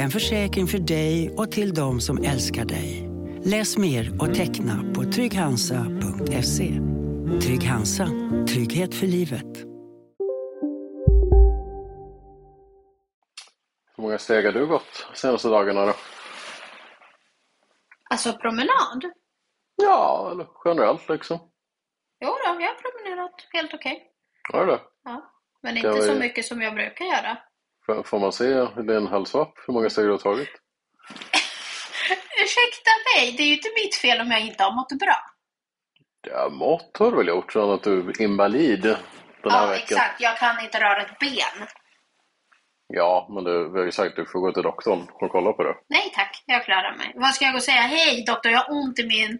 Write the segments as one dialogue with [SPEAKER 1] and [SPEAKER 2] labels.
[SPEAKER 1] En försäkring för dig och till de som älskar dig. Läs mer och teckna på trygghansa.se. Trygg Hansa. Trygghet för livet.
[SPEAKER 2] Hur många steg har du gått de senaste dagarna då?
[SPEAKER 3] Alltså promenad?
[SPEAKER 2] Ja, eller generellt liksom.
[SPEAKER 3] Jo då, jag har promenerat helt okej.
[SPEAKER 2] Har du det?
[SPEAKER 3] Ja. Men
[SPEAKER 2] Det
[SPEAKER 3] inte
[SPEAKER 2] var
[SPEAKER 3] så
[SPEAKER 2] ju-
[SPEAKER 3] mycket som jag brukar göra.
[SPEAKER 2] Får- Får man se din hälsoapp, hur många steg du har tagit?
[SPEAKER 3] Ursäkta mig, det är ju inte mitt fel om jag inte har mått bra.
[SPEAKER 2] Ja, mått har du väl gjort sedan att du är invalid den här
[SPEAKER 3] ja,
[SPEAKER 2] veckan?
[SPEAKER 3] exakt. Jag kan inte röra ett ben.
[SPEAKER 2] Ja, men du, vi har ju sagt att du får gå till doktorn och kolla på det.
[SPEAKER 3] Nej tack, jag klarar mig. Vad ska jag gå och säga? Hej doktor, jag har ont i min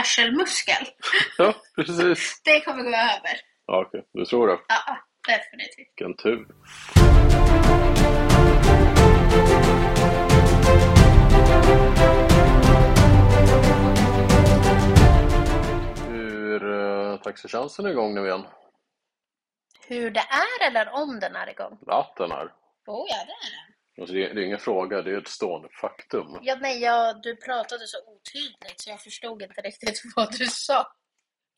[SPEAKER 3] arselmuskel.
[SPEAKER 2] Ja, precis.
[SPEAKER 3] Det kommer gå över.
[SPEAKER 2] Ja, okej. Du tror det.
[SPEAKER 3] Ja, ja, definitivt.
[SPEAKER 2] Vilken tur. Hur eh, taxitjänsten är igång nu igen?
[SPEAKER 3] Hur det är eller om den är igång?
[SPEAKER 2] Ratten här.
[SPEAKER 3] Oh, ja, det är den.
[SPEAKER 2] Alltså det, det är ingen fråga, det är ett stående faktum.
[SPEAKER 3] Ja, nej, jag, du pratade så otydligt så jag förstod inte riktigt vad du sa.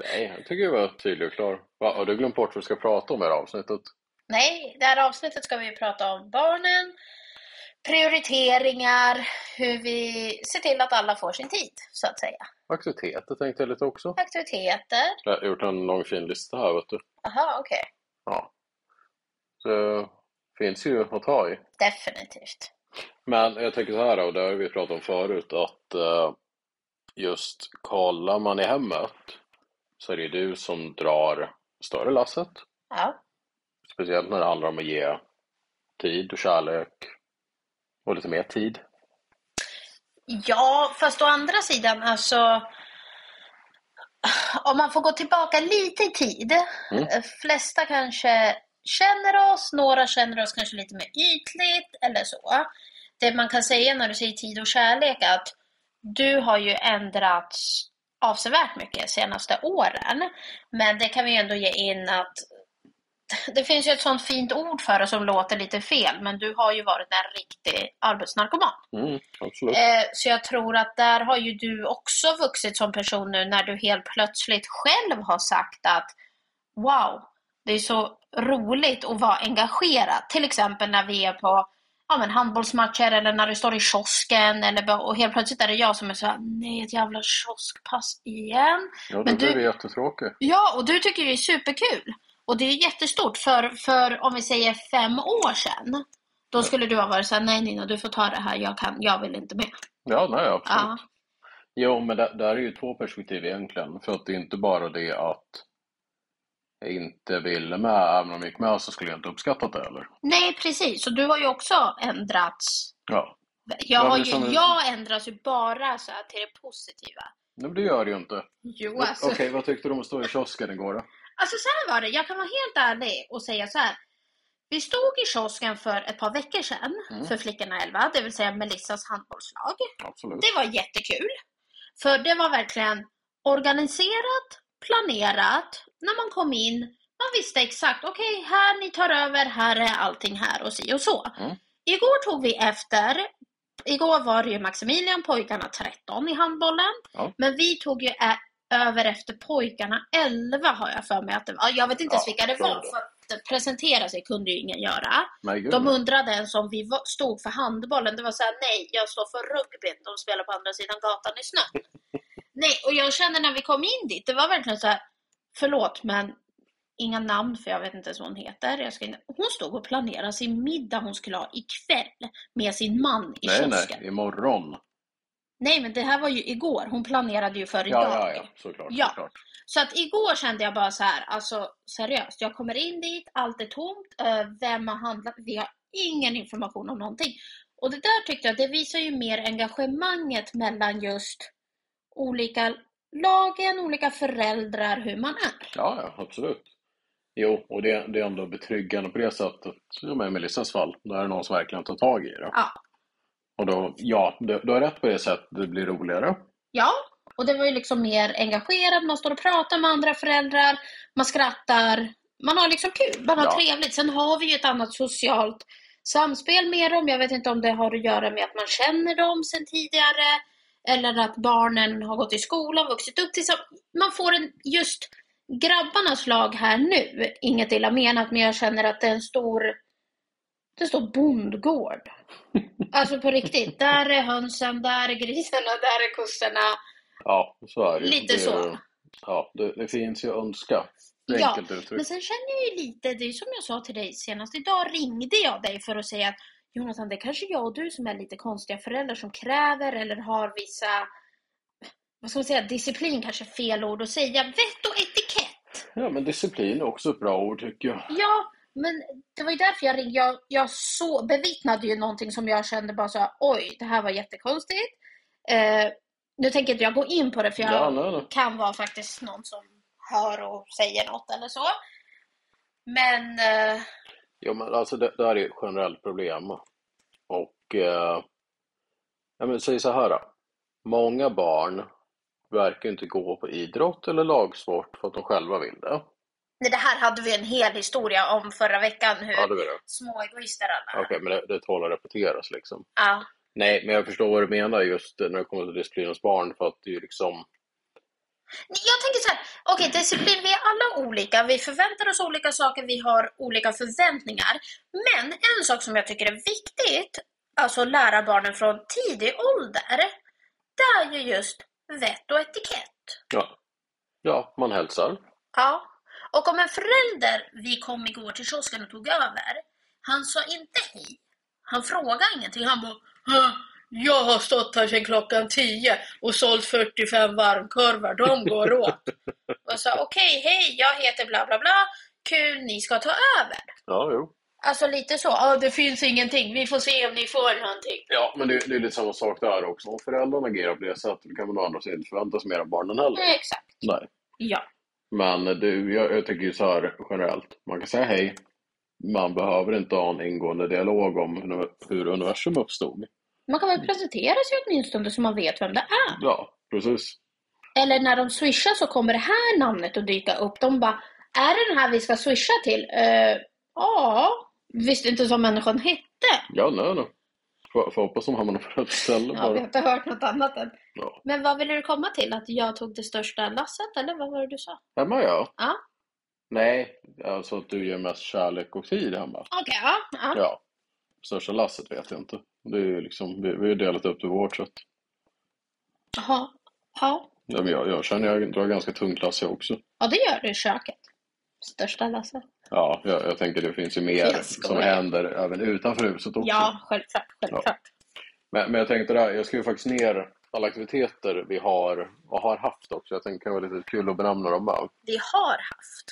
[SPEAKER 2] Nej, jag tycker jag var tydlig och klar. Va, har du glömt bort vad vi ska prata om i det här avsnittet?
[SPEAKER 3] Nej, det här avsnittet ska vi ju prata om barnen, prioriteringar, hur vi ser till att alla får sin tid, så att säga.
[SPEAKER 2] Aktiviteter tänkte jag lite också.
[SPEAKER 3] Aktiviteter.
[SPEAKER 2] Jag har gjort en lång fin lista här, vet du.
[SPEAKER 3] Aha, okej.
[SPEAKER 2] Ja. Så det finns ju att ta i.
[SPEAKER 3] Definitivt.
[SPEAKER 2] Men jag tänker så här, och det har vi pratat om förut, att eh, just kollar man i hemmet så är det du som drar större lasset.
[SPEAKER 3] Ja,
[SPEAKER 2] Speciellt när det handlar om att ge tid och kärlek och lite mer tid.
[SPEAKER 3] ja fast å andra sidan, alltså... Om man får gå tillbaka lite i tid.
[SPEAKER 2] Mm.
[SPEAKER 3] eh, Flesta kanske känner oss, några känner oss kanske lite mer ytligt eller så. Det man kan säga när du säger tid och kärlek är att du har ju ändrats avsevärt mycket de senaste åren. Men det kan vi ju ändå ge in att det finns ju ett sånt fint ord för det som låter lite fel, men du har ju varit en riktig arbetsnarkoman.
[SPEAKER 2] Mm, absolut.
[SPEAKER 3] Eh, så jag tror att där har ju du också vuxit som person nu när du helt plötsligt själv har sagt att wow, det är så roligt att vara engagerad. Till exempel när vi är på ja, men handbollsmatcher eller när du står i kiosken eller, bara- och helt plötsligt är det jag som är så här, nej ett jävla kioskpass igen.
[SPEAKER 2] Ja, då
[SPEAKER 3] men
[SPEAKER 2] blir
[SPEAKER 3] du-
[SPEAKER 2] det jättetråkigt.
[SPEAKER 3] Ja, och du tycker det är superkul. Och det är jättestort, för, för om vi säger fem år sedan, då skulle du ha varit såhär, nej Nina, du får ta det här, jag, kan, jag vill inte med.
[SPEAKER 2] Ja, nej, absolut.
[SPEAKER 3] Ja.
[SPEAKER 2] Jo, men där, där är ju två perspektiv egentligen. För att det är inte bara det att jag inte ville med, även om jag gick med så skulle jag inte uppskattat det heller.
[SPEAKER 3] Nej, precis. Så du har ju också ändrats.
[SPEAKER 2] Ja,
[SPEAKER 3] Jag,
[SPEAKER 2] Ja,
[SPEAKER 3] har
[SPEAKER 2] men
[SPEAKER 3] ju,
[SPEAKER 2] som-
[SPEAKER 3] jag ändras ju bara så här till det positiva.
[SPEAKER 2] Nej, men det gör det ju inte.
[SPEAKER 3] Jo,
[SPEAKER 2] Men-
[SPEAKER 3] alltså.
[SPEAKER 2] Okej, vad tyckte du om att stå i kiosken igår då?
[SPEAKER 3] Alltså så här var det, jag kan vara helt ärlig och säga så här. Vi stod i kiosken för ett par veckor sedan
[SPEAKER 2] Mm.
[SPEAKER 3] för Flickorna 11, det vill säga Melissas handbollslag.
[SPEAKER 2] Absolut.
[SPEAKER 3] Det var jättekul. För det var verkligen organiserat, planerat. När man kom in, man visste exakt. Okej, här ni tar över, här är allting här och si och så.
[SPEAKER 2] Mm.
[SPEAKER 3] Igår tog vi efter. Igår var det ju Maximilian, pojkarna 13 i handbollen.
[SPEAKER 2] Ja.
[SPEAKER 3] Men vi tog ju ä- över efter pojkarna 11 har jag för mig att det var. Jag vet inte ens
[SPEAKER 2] Ja,
[SPEAKER 3] vilka det
[SPEAKER 2] det var
[SPEAKER 3] var.
[SPEAKER 2] det.
[SPEAKER 3] För att presentera sig kunde ju ingen göra.
[SPEAKER 2] Nej, gud.
[SPEAKER 3] De undrade ens om vi var- stod för handbollen. Det var så här, nej, jag står för rugbyn. De spelar på andra sidan gatan i snön. nej, och jag kände när vi kom in dit, det var verkligen så här, förlåt, men inga namn för jag vet inte ens vad hon heter. Jag ska in... Hon stod och planerade sin middag hon skulle ha ikväll med sin man i
[SPEAKER 2] Nej,
[SPEAKER 3] kiosken.
[SPEAKER 2] nej, imorgon.
[SPEAKER 3] Nej, men det här var ju igår. Hon planerade ju för idag.
[SPEAKER 2] Ja, ja, ja, såklart.
[SPEAKER 3] Ja.
[SPEAKER 2] såklart.
[SPEAKER 3] Så att igår kände jag bara så här, alltså seriöst, jag kommer in dit, allt är tomt, eh, vem har handlat? Vi har ingen information om någonting. Och det där tyckte jag, det visar ju mer engagemanget mellan just olika lagen, olika föräldrar, hur man är.
[SPEAKER 2] Ja, ja, absolut. Jo, och det, det är ändå betryggande på det sättet, ja, men i Melissas fall, då är det någon som verkligen tar tag i det.
[SPEAKER 3] Ja.
[SPEAKER 2] Och då, ja, du, du har rätt på det sättet, det blir roligare.
[SPEAKER 3] Ja, och det var ju liksom mer engagerat, man står och pratar med andra föräldrar, man skrattar, man har liksom kul, man har
[SPEAKER 2] Ja.
[SPEAKER 3] trevligt. Sen har vi ju ett annat socialt samspel med dem. Jag vet inte om det har att göra med att man känner dem sedan tidigare, eller att barnen har gått i skolan, vuxit upp tillsammans. Man får en, just grabbarnas lag här nu, inget illa menat, men jag känner att det är en stor, det är en stor bondgård. Alltså på riktigt, där är hönsen, där är grisarna, där är kossorna.
[SPEAKER 2] Ja, så är det ju.
[SPEAKER 3] Lite
[SPEAKER 2] det,
[SPEAKER 3] så.
[SPEAKER 2] Ja, det, det finns ju önska.
[SPEAKER 3] Ja,
[SPEAKER 2] Enkelt uttryckt.
[SPEAKER 3] Men sen känner jag ju lite, det är ju som jag sa till dig senast idag ringde jag dig för att säga att Jonathan, det är kanske jag och du som är lite konstiga föräldrar som kräver eller har vissa, vad ska man säga, disciplin kanske är fel ord att säga, vett och etikett.
[SPEAKER 2] Ja, men disciplin är också ett bra ord tycker jag.
[SPEAKER 3] Ja, men det var ju därför jag ringde. Jag, jag så, bevittnade ju någonting som jag kände bara så här, oj, det här var jättekonstigt. Eh, nu tänker inte jag gå in på det för jag
[SPEAKER 2] Ja, nej, nej.
[SPEAKER 3] kan vara faktiskt någon som hör och säger något eller så. Men eh,
[SPEAKER 2] Jo, men alltså det, det här är ju ett generellt problem. Och... Eh, ja, men säg så här då. Många barn verkar ju inte gå på idrott eller lagsport för att de själva vill det.
[SPEAKER 3] nej, det här hade vi en hel historia om förra veckan hur
[SPEAKER 2] Ja, det vill det.
[SPEAKER 3] små egoister alla
[SPEAKER 2] Okej,
[SPEAKER 3] är.
[SPEAKER 2] men det, det tål att repeteras liksom.
[SPEAKER 3] Ja,
[SPEAKER 2] Nej, men jag förstår vad du menar just när det kommer till disciplinens barn för att det är ju liksom...
[SPEAKER 3] Nej, Jag tänker så här, okej disciplin, vi är alla olika, vi förväntar oss olika saker, vi har olika förväntningar. Men en sak som jag tycker är viktigt, alltså att lära barnen från tidig ålder, det är ju just vett och etikett.
[SPEAKER 2] Ja, ja man hälsar.
[SPEAKER 3] Ja. Och om en förälder vi kom igår till kiosken och tog över, han sa inte hej. Han frågade ingenting. Han bara "Hä? jag har stått här sedan klockan 10 och sålt 45 varmkorvar, de går åt. Och sa okej, hej, jag heter bla bla bla, kul, ni ska ta över.
[SPEAKER 2] Ja, jo.
[SPEAKER 3] Alltså lite så, ja det finns ingenting, vi får se om ni får någonting.
[SPEAKER 2] Ja, men det, det är lite samma sak där också. Om föräldrarna agerar på det sättet då kan man å andra sidan inte förvänta sig mer av barnen heller.
[SPEAKER 3] Mm, Exakt,
[SPEAKER 2] Nej.
[SPEAKER 3] ja.
[SPEAKER 2] Men du, jag, jag tycker ju så här generellt. Man kan säga hej. Man behöver inte ha en ingående dialog om hur- hur universum uppstod.
[SPEAKER 3] Man kan väl presentera sig åtminstone så man vet vem det är.
[SPEAKER 2] Ja, precis.
[SPEAKER 3] Eller när de swishar så kommer det här namnet att dyka upp. De bara, är det den här vi ska swisha till? Eh, Ja, visste inte som människan hette.
[SPEAKER 2] Ja, nej, nej. Får, får hoppas de hamnar på rätt ställe
[SPEAKER 3] Ja, vi har
[SPEAKER 2] bara.
[SPEAKER 3] inte hört något annat än.
[SPEAKER 2] Ja.
[SPEAKER 3] Men vad ville du komma till? Att jag tog det största lasset, eller vad var det du sa?
[SPEAKER 2] Hemma ja.
[SPEAKER 3] Ja.
[SPEAKER 2] Nej, alltså att du ger mest kärlek och tid hemma.
[SPEAKER 3] Okej, ja, ja.
[SPEAKER 2] Ja. Största lasset vet jag inte. Det är ju liksom, vi, vi har ju delat upp det på vårt sätt.
[SPEAKER 3] Ja, ja.
[SPEAKER 2] Ja, men jag, jag känner jag drar ganska tungt lass jag också.
[SPEAKER 3] ja det gör du i köket. Största lasset.
[SPEAKER 2] Ja, jag, jag tänker det finns ju mer
[SPEAKER 3] Jag skojar.
[SPEAKER 2] som händer även utanför huset också.
[SPEAKER 3] Ja, självklart, självklart.
[SPEAKER 2] Men, men jag tänkte där, jag skrev faktiskt ner alla aktiviteter vi har och har haft också. Jag tänkte det kan vara lite kul att benämna dem här.
[SPEAKER 3] Vi har haft.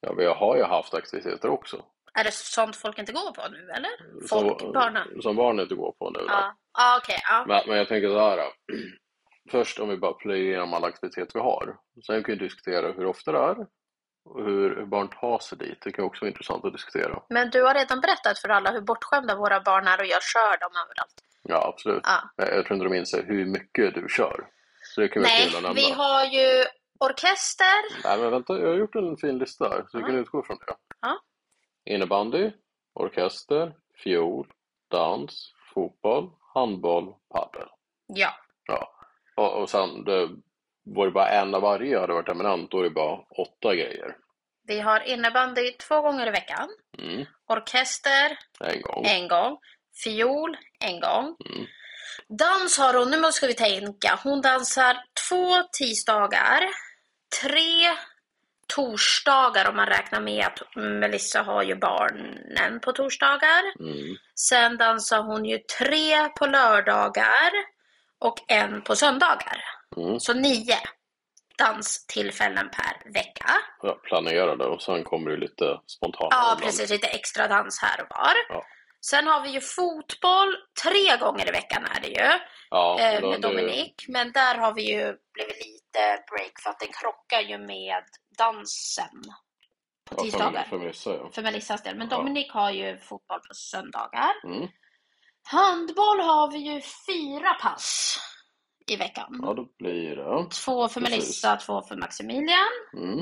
[SPEAKER 2] Ja, vi har ju haft aktiviteter också.
[SPEAKER 3] Är det sånt folk inte går på nu, eller? Folk,
[SPEAKER 2] Som,
[SPEAKER 3] barnen?
[SPEAKER 2] som barnen inte går på nu. då.
[SPEAKER 3] Ja, ja okej, ja.
[SPEAKER 2] Men, men jag tänker så här. då. Först om vi bara plöjer igenom alla aktiviteter vi har. Sen kan vi diskutera hur ofta det är och hur hur barn tar sig dit. Det kan också vara intressant att diskutera.
[SPEAKER 3] Men du har redan berättat för alla hur bortskämda våra barn är och jag kör dem överallt.
[SPEAKER 2] Ja, absolut.
[SPEAKER 3] Ja.
[SPEAKER 2] Jag, jag tror inte de inser hur mycket du kör. Så det kan vara
[SPEAKER 3] Nej,
[SPEAKER 2] kul att nämna.
[SPEAKER 3] vi har ju orkester.
[SPEAKER 2] Nej, men vänta. Jag har gjort en fin lista här, så vi
[SPEAKER 3] Ja.
[SPEAKER 2] kan utgå från det.
[SPEAKER 3] Ja.
[SPEAKER 2] Innebandy, orkester, fiol, dans, fotboll, handboll, padel.
[SPEAKER 3] Ja,
[SPEAKER 2] Ja. Och, och sen, det, var det bara en av varje hade varit eminent, då är det bara åtta grejer.
[SPEAKER 3] vi har innebandy två gånger i veckan.
[SPEAKER 2] Mm,
[SPEAKER 3] Orkester
[SPEAKER 2] en gång.
[SPEAKER 3] en gång. Fiol en gång.
[SPEAKER 2] Oh. Mm.
[SPEAKER 3] Dans har hon, nu måste vi tänka. Hon dansar två tisdagar, tre torsdagar om man räknar med att Melissa har ju barnen på torsdagar.
[SPEAKER 2] Mm.
[SPEAKER 3] Sen dansar hon ju tre på lördagar och en på söndagar.
[SPEAKER 2] Mm.
[SPEAKER 3] Så nio danstillfällen per vecka.
[SPEAKER 2] Jag planerar det och sen kommer det lite spontant.
[SPEAKER 3] Ja, precis. Lite extra dans här och var.
[SPEAKER 2] Ja.
[SPEAKER 3] Sen har vi ju fotboll. Tre gånger i veckan är det ju.
[SPEAKER 2] Ja,
[SPEAKER 3] eh,
[SPEAKER 2] men då-
[SPEAKER 3] med
[SPEAKER 2] det-
[SPEAKER 3] Dominik. Men där har vi ju blivit lite break för att den krockar ju med dansen på
[SPEAKER 2] ja, för-
[SPEAKER 3] tisdagar.
[SPEAKER 2] För Melissa, ja.
[SPEAKER 3] För Melissas del. Men
[SPEAKER 2] Ja.
[SPEAKER 3] Dominik har ju fotboll på söndagar.
[SPEAKER 2] Mm.
[SPEAKER 3] Handboll har vi ju fyra pass i veckan.
[SPEAKER 2] Ja, då blir det.
[SPEAKER 3] Två för
[SPEAKER 2] precis.
[SPEAKER 3] Melissa, två för Maximilian.
[SPEAKER 2] Mm.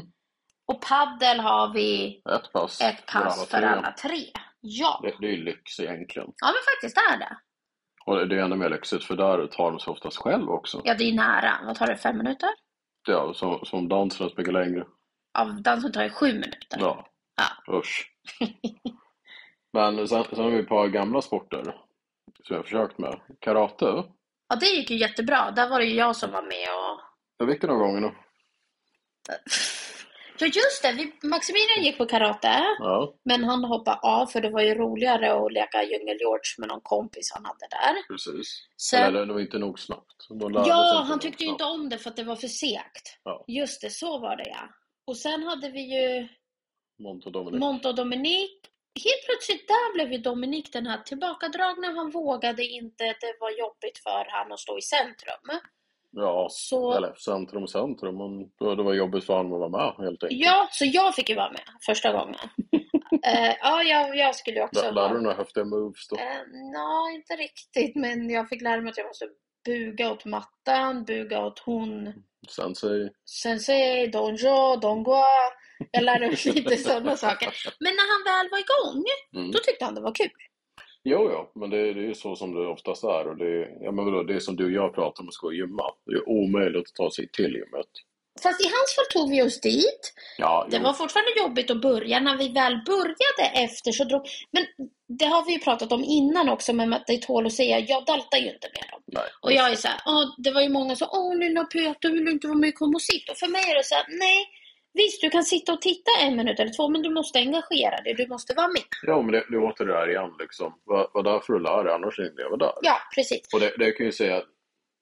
[SPEAKER 3] Och paddel har vi
[SPEAKER 2] Ett pass.
[SPEAKER 3] ett pass för
[SPEAKER 2] tre.
[SPEAKER 3] alla tre. Ja,
[SPEAKER 2] Det, det är ju lyx egentligen.
[SPEAKER 3] ja men faktiskt det är det.
[SPEAKER 2] Och det det är ännu mer lyxigt för där tar de sig oftast själv också.
[SPEAKER 3] Ja, det är ju nära. Vad tar det, fem minuter?
[SPEAKER 2] Ja, som, som dansen är mycket längre.
[SPEAKER 3] Av dansen tar det sju minuter.
[SPEAKER 2] Ja.
[SPEAKER 3] Ja.
[SPEAKER 2] Usch. Men sen, sen har vi ett par gamla sporter som jag har försökt med. Karate.
[SPEAKER 3] Ja, det gick ju jättebra. Där var det ju jag som var med och...
[SPEAKER 2] Jag gick några gånger nu.
[SPEAKER 3] Ja, just det. Vi, Maximilian gick på karate,
[SPEAKER 2] Ja,
[SPEAKER 3] men han hoppade av för det var ju roligare att leka djungel-George med någon kompis han hade där.
[SPEAKER 2] precis.
[SPEAKER 3] Sen,
[SPEAKER 2] Eller det var inte nog snabbt. De lärde sig
[SPEAKER 3] ja,
[SPEAKER 2] nog
[SPEAKER 3] han tyckte ju
[SPEAKER 2] snabbt.
[SPEAKER 3] inte om det för att det var för segt.
[SPEAKER 2] Ja.
[SPEAKER 3] Just det, så var det ja. Och sen hade vi ju
[SPEAKER 2] Monte och Dominic.
[SPEAKER 3] Monte och Dominik. Helt plötsligt där blev ju Dominik den här tillbakadragna. Han vågade inte. Det var jobbigt för han att stå i centrum.
[SPEAKER 2] ja,
[SPEAKER 3] Så
[SPEAKER 2] eller centrum, centrum. Men då- det var jobbigt för honom att vara med helt enkelt.
[SPEAKER 3] Ja, så jag fick ju vara med första gången. Eh, ja, jag, jag skulle ju också
[SPEAKER 2] Lär- Lärde
[SPEAKER 3] vara
[SPEAKER 2] du några häftiga moves då?
[SPEAKER 3] Eh, Nå, inte riktigt, men jag fick lära mig att jag måste buga åt mattan, buga åt hon,
[SPEAKER 2] Sensei?
[SPEAKER 3] sensei, donjo, dongua. Jag lärde mig lite sådana saker. Men när han väl var igång,
[SPEAKER 2] Mm.
[SPEAKER 3] då tyckte han det var kul.
[SPEAKER 2] Jo, jo, men det, det är ju så som det oftast är. Och det, är- ja, men vadå, det är som du och jag pratar om att gå och gymma. Det är omöjligt att ta sig till gymmet.
[SPEAKER 3] Fast i hans fall tog vi oss dit.
[SPEAKER 2] Ja,
[SPEAKER 3] Det
[SPEAKER 2] jo.
[SPEAKER 3] var fortfarande jobbigt att börja. När vi väl började efter så drog... Men det har vi ju pratat om innan också, men att det tål att säga, jag daltar ju inte med dem.
[SPEAKER 2] Nej.
[SPEAKER 3] Och jag är så här, "Åh, det var ju många som åh lilla Peter vill du inte vara med, kom och sitt. Och för mig är det så här, nej, visst du kan sitta och titta en minut eller två, men du måste engagera dig, du måste vara med.
[SPEAKER 2] Ja, men det, det är åter det där igen liksom. Var, var där för att lära dig, annars är inte jag var där.
[SPEAKER 3] Ja, precis.
[SPEAKER 2] Och det, det kan ju säga att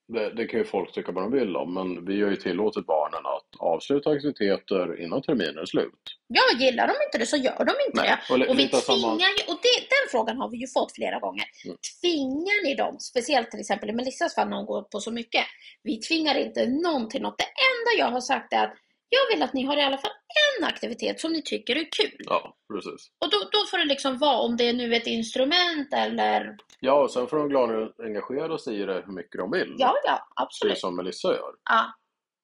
[SPEAKER 2] det, det kan ju folk tycka vad de vill om, men vi har ju tillåtit barnen att avsluta aktiviteter innan terminen är slut.
[SPEAKER 3] Ja, gillar de inte det så gör de inte
[SPEAKER 2] Nej, och
[SPEAKER 3] det.
[SPEAKER 2] li-
[SPEAKER 3] Och vi
[SPEAKER 2] lite samma-
[SPEAKER 3] tvingar ju, och det, den frågan har vi ju fått flera gånger.
[SPEAKER 2] Mm.
[SPEAKER 3] Tvingar ni dem, speciellt till exempel i Melissas fall när hon går på så mycket. Vi tvingar inte någon till något. Det enda jag har sagt är att jag vill att ni har i alla fall en aktivitet som ni tycker är kul.
[SPEAKER 2] Ja, precis.
[SPEAKER 3] Och då, då får det liksom vara om det är nu ett instrument eller...
[SPEAKER 2] Ja, och sen får de glada engagera sig i det hur mycket de vill.
[SPEAKER 3] Ja, ja,
[SPEAKER 2] Precis
[SPEAKER 3] absolut.
[SPEAKER 2] som Melissa gör.
[SPEAKER 3] Ja.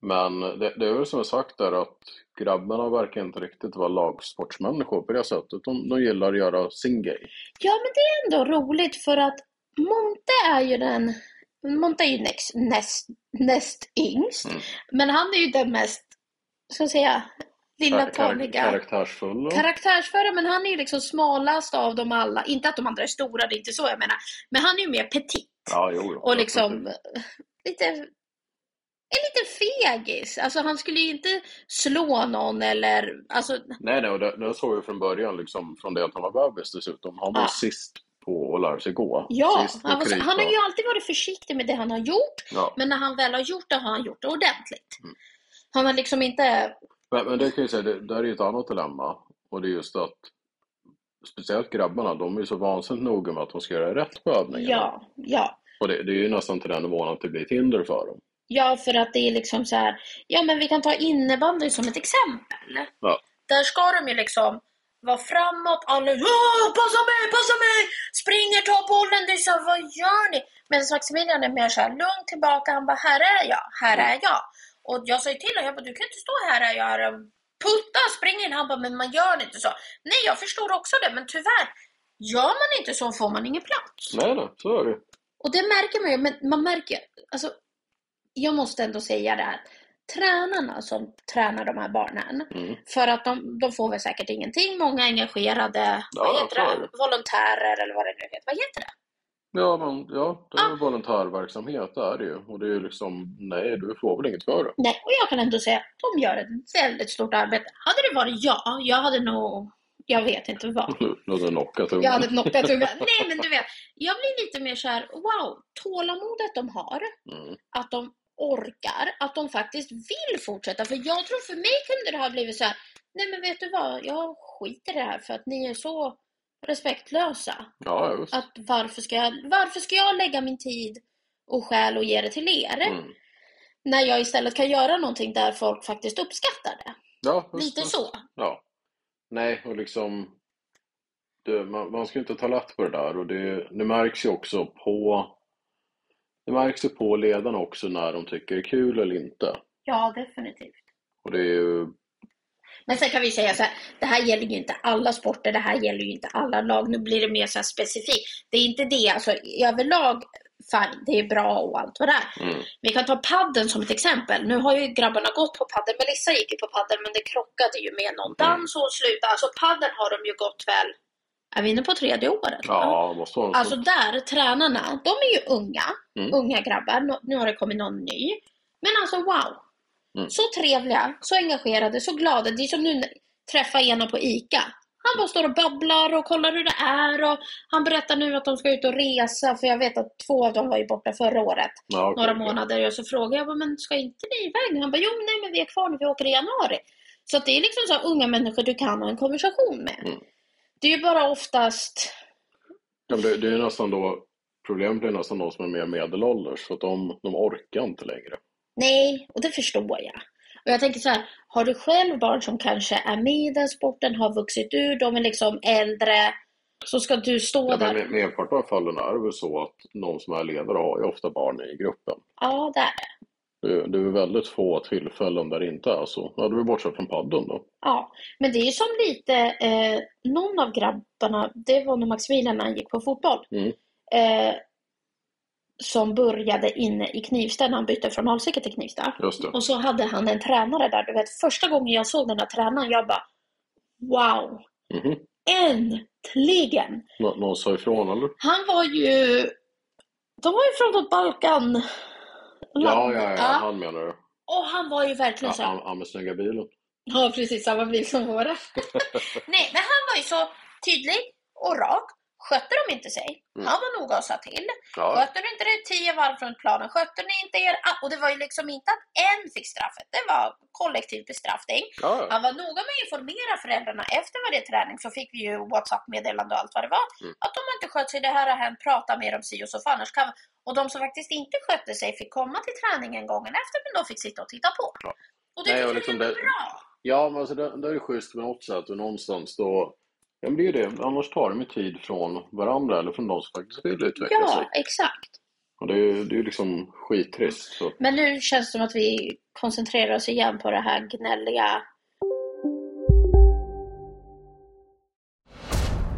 [SPEAKER 2] Men det, det är väl som jag sagt där att grabbarna verkar inte riktigt vara lagsportsmänniskor på det sättet. De, de gillar att göra sin grej.
[SPEAKER 3] ja, men det är ändå roligt för att Monte är ju den... Monte är ju näst, näst, näst yngst.
[SPEAKER 2] Mm.
[SPEAKER 3] Men han är ju den mest, ska jag säga, lilla
[SPEAKER 2] Kar- kar-
[SPEAKER 3] toniga.
[SPEAKER 2] karaktärsfulla.
[SPEAKER 3] Karaktärsföra, men han är ju liksom smalast av dem alla. Inte att de andra är stora, det är inte så jag menar. Men han är ju mer petit.
[SPEAKER 2] ja, jo, jo,
[SPEAKER 3] och liksom
[SPEAKER 2] absolut.
[SPEAKER 3] eh, lite, en liten fegis. Alltså han skulle ju inte slå någon eller, alltså
[SPEAKER 2] Nej, nej, och det, det såg vi från början, liksom, från det att han var bebis dessutom. Han var
[SPEAKER 3] Ja.
[SPEAKER 2] sist på att lära sig gå.
[SPEAKER 3] Ah. ja.
[SPEAKER 2] sist på
[SPEAKER 3] Han, var, så-
[SPEAKER 2] krypa.
[SPEAKER 3] han har ju alltid varit försiktig med det han har gjort.
[SPEAKER 2] ja.
[SPEAKER 3] Men när han väl har gjort det har han gjort det ordentligt.
[SPEAKER 2] Mm.
[SPEAKER 3] Han har liksom inte,
[SPEAKER 2] men, men det kan jag säga, det, där är ju ett annat dilemma. Och det är just att speciellt grabbarna, de är ju så vansinnigt noga med att de ska göra rätt på övningarna.
[SPEAKER 3] ja, ja.
[SPEAKER 2] Och det, det är ju nästan till den nivån att det blir ett hinder för dem.
[SPEAKER 3] Ja, för att det är liksom så här. Ja, men vi kan ta innebandy som ett exempel.
[SPEAKER 2] Ja.
[SPEAKER 3] Där ska de ju liksom vara framåt. Alla "Åh, passa mig, passa mig! Springer, tar bollen. Det är så här, vad gör ni? Men Maximilian är mer så här, lugn tillbaka. Han bara, här är jag, här är jag. Och jag sa ju till honom, jag bara, du kan inte stå här, här är jag. Putta, spring in. Han bara, men man gör inte så. Nej, jag förstår också det, men tyvärr. Gör man inte så får man ingen plats.
[SPEAKER 2] Nej, nej, så är det
[SPEAKER 3] Och det märker man ju, men man märker ju, alltså, jag måste ändå säga det här. Tränarna som tränar de här barnen,
[SPEAKER 2] Mm.
[SPEAKER 3] för att de, de får väl säkert ingenting. Många engagerade,
[SPEAKER 2] Ja,
[SPEAKER 3] vad heter
[SPEAKER 2] så är
[SPEAKER 3] det?
[SPEAKER 2] det.
[SPEAKER 3] Volontärer eller vad det nu heter. Vad heter det?
[SPEAKER 2] Ja, men ja, det
[SPEAKER 3] Ah.
[SPEAKER 2] är ju volontärverksamhet, det är det ju. Och det är ju liksom, nej, du får väl inget för det.
[SPEAKER 3] Nej, och jag kan ändå säga att de gör ett väldigt stort arbete. Hade det varit jag, jag hade nog, jag vet inte vad.
[SPEAKER 2] Nu- Nu har du knockat
[SPEAKER 3] Jag hade
[SPEAKER 2] ungen.
[SPEAKER 3] knockat tungan. Nej, men du vet. Jag blir lite mer så här, wow, tålamodet de har,
[SPEAKER 2] Mm.
[SPEAKER 3] att de orkar, att de faktiskt vill fortsätta. För jag tror för mig kunde det ha blivit så här, nej men vet du vad, jag skiter i det här för att ni är så respektlösa.
[SPEAKER 2] Ja, just.
[SPEAKER 3] Att varför ska jag, varför ska jag lägga min tid och själ och ge det till er?
[SPEAKER 2] Mm.
[SPEAKER 3] När jag istället kan göra någonting där folk faktiskt uppskattar det.
[SPEAKER 2] Ja, just,
[SPEAKER 3] Lite
[SPEAKER 2] just.
[SPEAKER 3] så.
[SPEAKER 2] Ja. Nej, och liksom... Det, man, man ska inte ta lätt på det där och det, det märks ju också på... Det märks ju på ledarna också när de tycker det är kul eller inte.
[SPEAKER 3] Ja, definitivt.
[SPEAKER 2] Och det är ju...
[SPEAKER 3] Men sen kan vi säga så här, det här gäller ju inte alla sporter, det här gäller ju inte alla lag. Nu blir det mer så här specifikt. Det är inte det, alltså överlag, fine, det är bra och allt vad det är.
[SPEAKER 2] Mm.
[SPEAKER 3] Vi kan ta padden som ett exempel. Nu har ju grabbarna gått på padden. Melissa gick ju på padden, men det krockade ju med
[SPEAKER 2] Mm.
[SPEAKER 3] någon dans och hon slutade. Alltså padden har de ju gått väl, är vi inne på tredje året?
[SPEAKER 2] Ja, måste vara så.
[SPEAKER 3] Alltså där, tränarna, de är ju unga.
[SPEAKER 2] Mm.
[SPEAKER 3] Unga grabbar. Nå- Nu har det kommit någon ny. Men alltså wow!
[SPEAKER 2] Mm.
[SPEAKER 3] Så trevliga, så engagerade, så glada. Det är som nu när- träffa ena på ICA. Han bara står och babblar och kollar hur det är. Och han berättar nu att de ska ut och resa, för jag vet att två av dem var ju borta förra året.
[SPEAKER 2] ja, okej,
[SPEAKER 3] Några
[SPEAKER 2] okej.
[SPEAKER 3] månader. Och så frågade jag, bara, men ska inte ni iväg nu? Han bara, jo nej men vi är kvar nu, vi åker i januari. Så att det är liksom så här, unga människor du kan ha en konversation med.
[SPEAKER 2] Mm.
[SPEAKER 3] Det är ju bara oftast
[SPEAKER 2] Ja, men det, det är ju nästan då... Problemet är nästan de som är mer medelålders för att de, de orkar inte längre.
[SPEAKER 3] Nej, och det förstår jag. Och jag tänker så här, har du själv barn som kanske är med i den sporten, har vuxit ur, de är liksom äldre, så ska du stå
[SPEAKER 2] Ja, men
[SPEAKER 3] där.
[SPEAKER 2] med- merparten av fallen är det väl så att någon som är ledare har ju ofta barn i gruppen.
[SPEAKER 3] Ja, där.
[SPEAKER 2] Det, det är väldigt få tillfällen där det inte är så. Ja, det är väl bortsett från padden då.
[SPEAKER 3] Ja, men det är ju som lite, eh, någon av grabbarna, det var när Maximilian när han gick på fotboll,
[SPEAKER 2] Mm.
[SPEAKER 3] eh, som började inne i Knivsta när han bytte från Alsike till Knivsta.
[SPEAKER 2] Just det.
[SPEAKER 3] Och så hade han en tränare där, du vet första gången jag såg den där tränaren, jag bara wow,
[SPEAKER 2] Mhm.
[SPEAKER 3] äntligen!
[SPEAKER 2] Nå- någon sa ifrån eller?
[SPEAKER 3] Han var ju... De var ju från vårt Balkan.
[SPEAKER 2] Ja, ja, ja, han menar du.
[SPEAKER 3] Och han var ju verkligen
[SPEAKER 2] Ja,
[SPEAKER 3] så.
[SPEAKER 2] han, han med snygga bilen.
[SPEAKER 3] Ja, precis samma bil som våra. Nej, men han var ju så tydlig och rak. Skötte de inte sig,
[SPEAKER 2] Mm.
[SPEAKER 3] han var noga och sa till.
[SPEAKER 2] Ja,
[SPEAKER 3] Skötte du inte dig tio varv runt planen, skötte ni inte er... ah, Och det var ju liksom inte att en fick straffet, det var kollektiv bestraffning.
[SPEAKER 2] ja, ja.
[SPEAKER 3] Han var noga med att informera föräldrarna efter varje träning så fick vi ju WhatsApp-meddelande och allt vad det var.
[SPEAKER 2] Mm.
[SPEAKER 3] Att de har inte skött sig, det här har hänt, prata med dem si och så för annars kan... Och de som faktiskt inte skötte sig fick komma till träningen gången efter men de fick sitta och titta på.
[SPEAKER 2] Ja.
[SPEAKER 3] Och det
[SPEAKER 2] Nej,
[SPEAKER 3] tyckte
[SPEAKER 2] och
[SPEAKER 3] vi
[SPEAKER 2] liksom
[SPEAKER 3] var
[SPEAKER 2] det-
[SPEAKER 3] bra.
[SPEAKER 2] ja men alltså det, det är ju schysst på något sätt och någonstans då. Ja, men det är ju det. Annars tar de ju tid från varandra eller från de som faktiskt vill utveckla sig.
[SPEAKER 3] Ja, exakt.
[SPEAKER 2] Och det är ju det är ju liksom skittrist. Så.
[SPEAKER 3] Men nu känns det som att vi koncentrerar oss igen på det här gnälliga.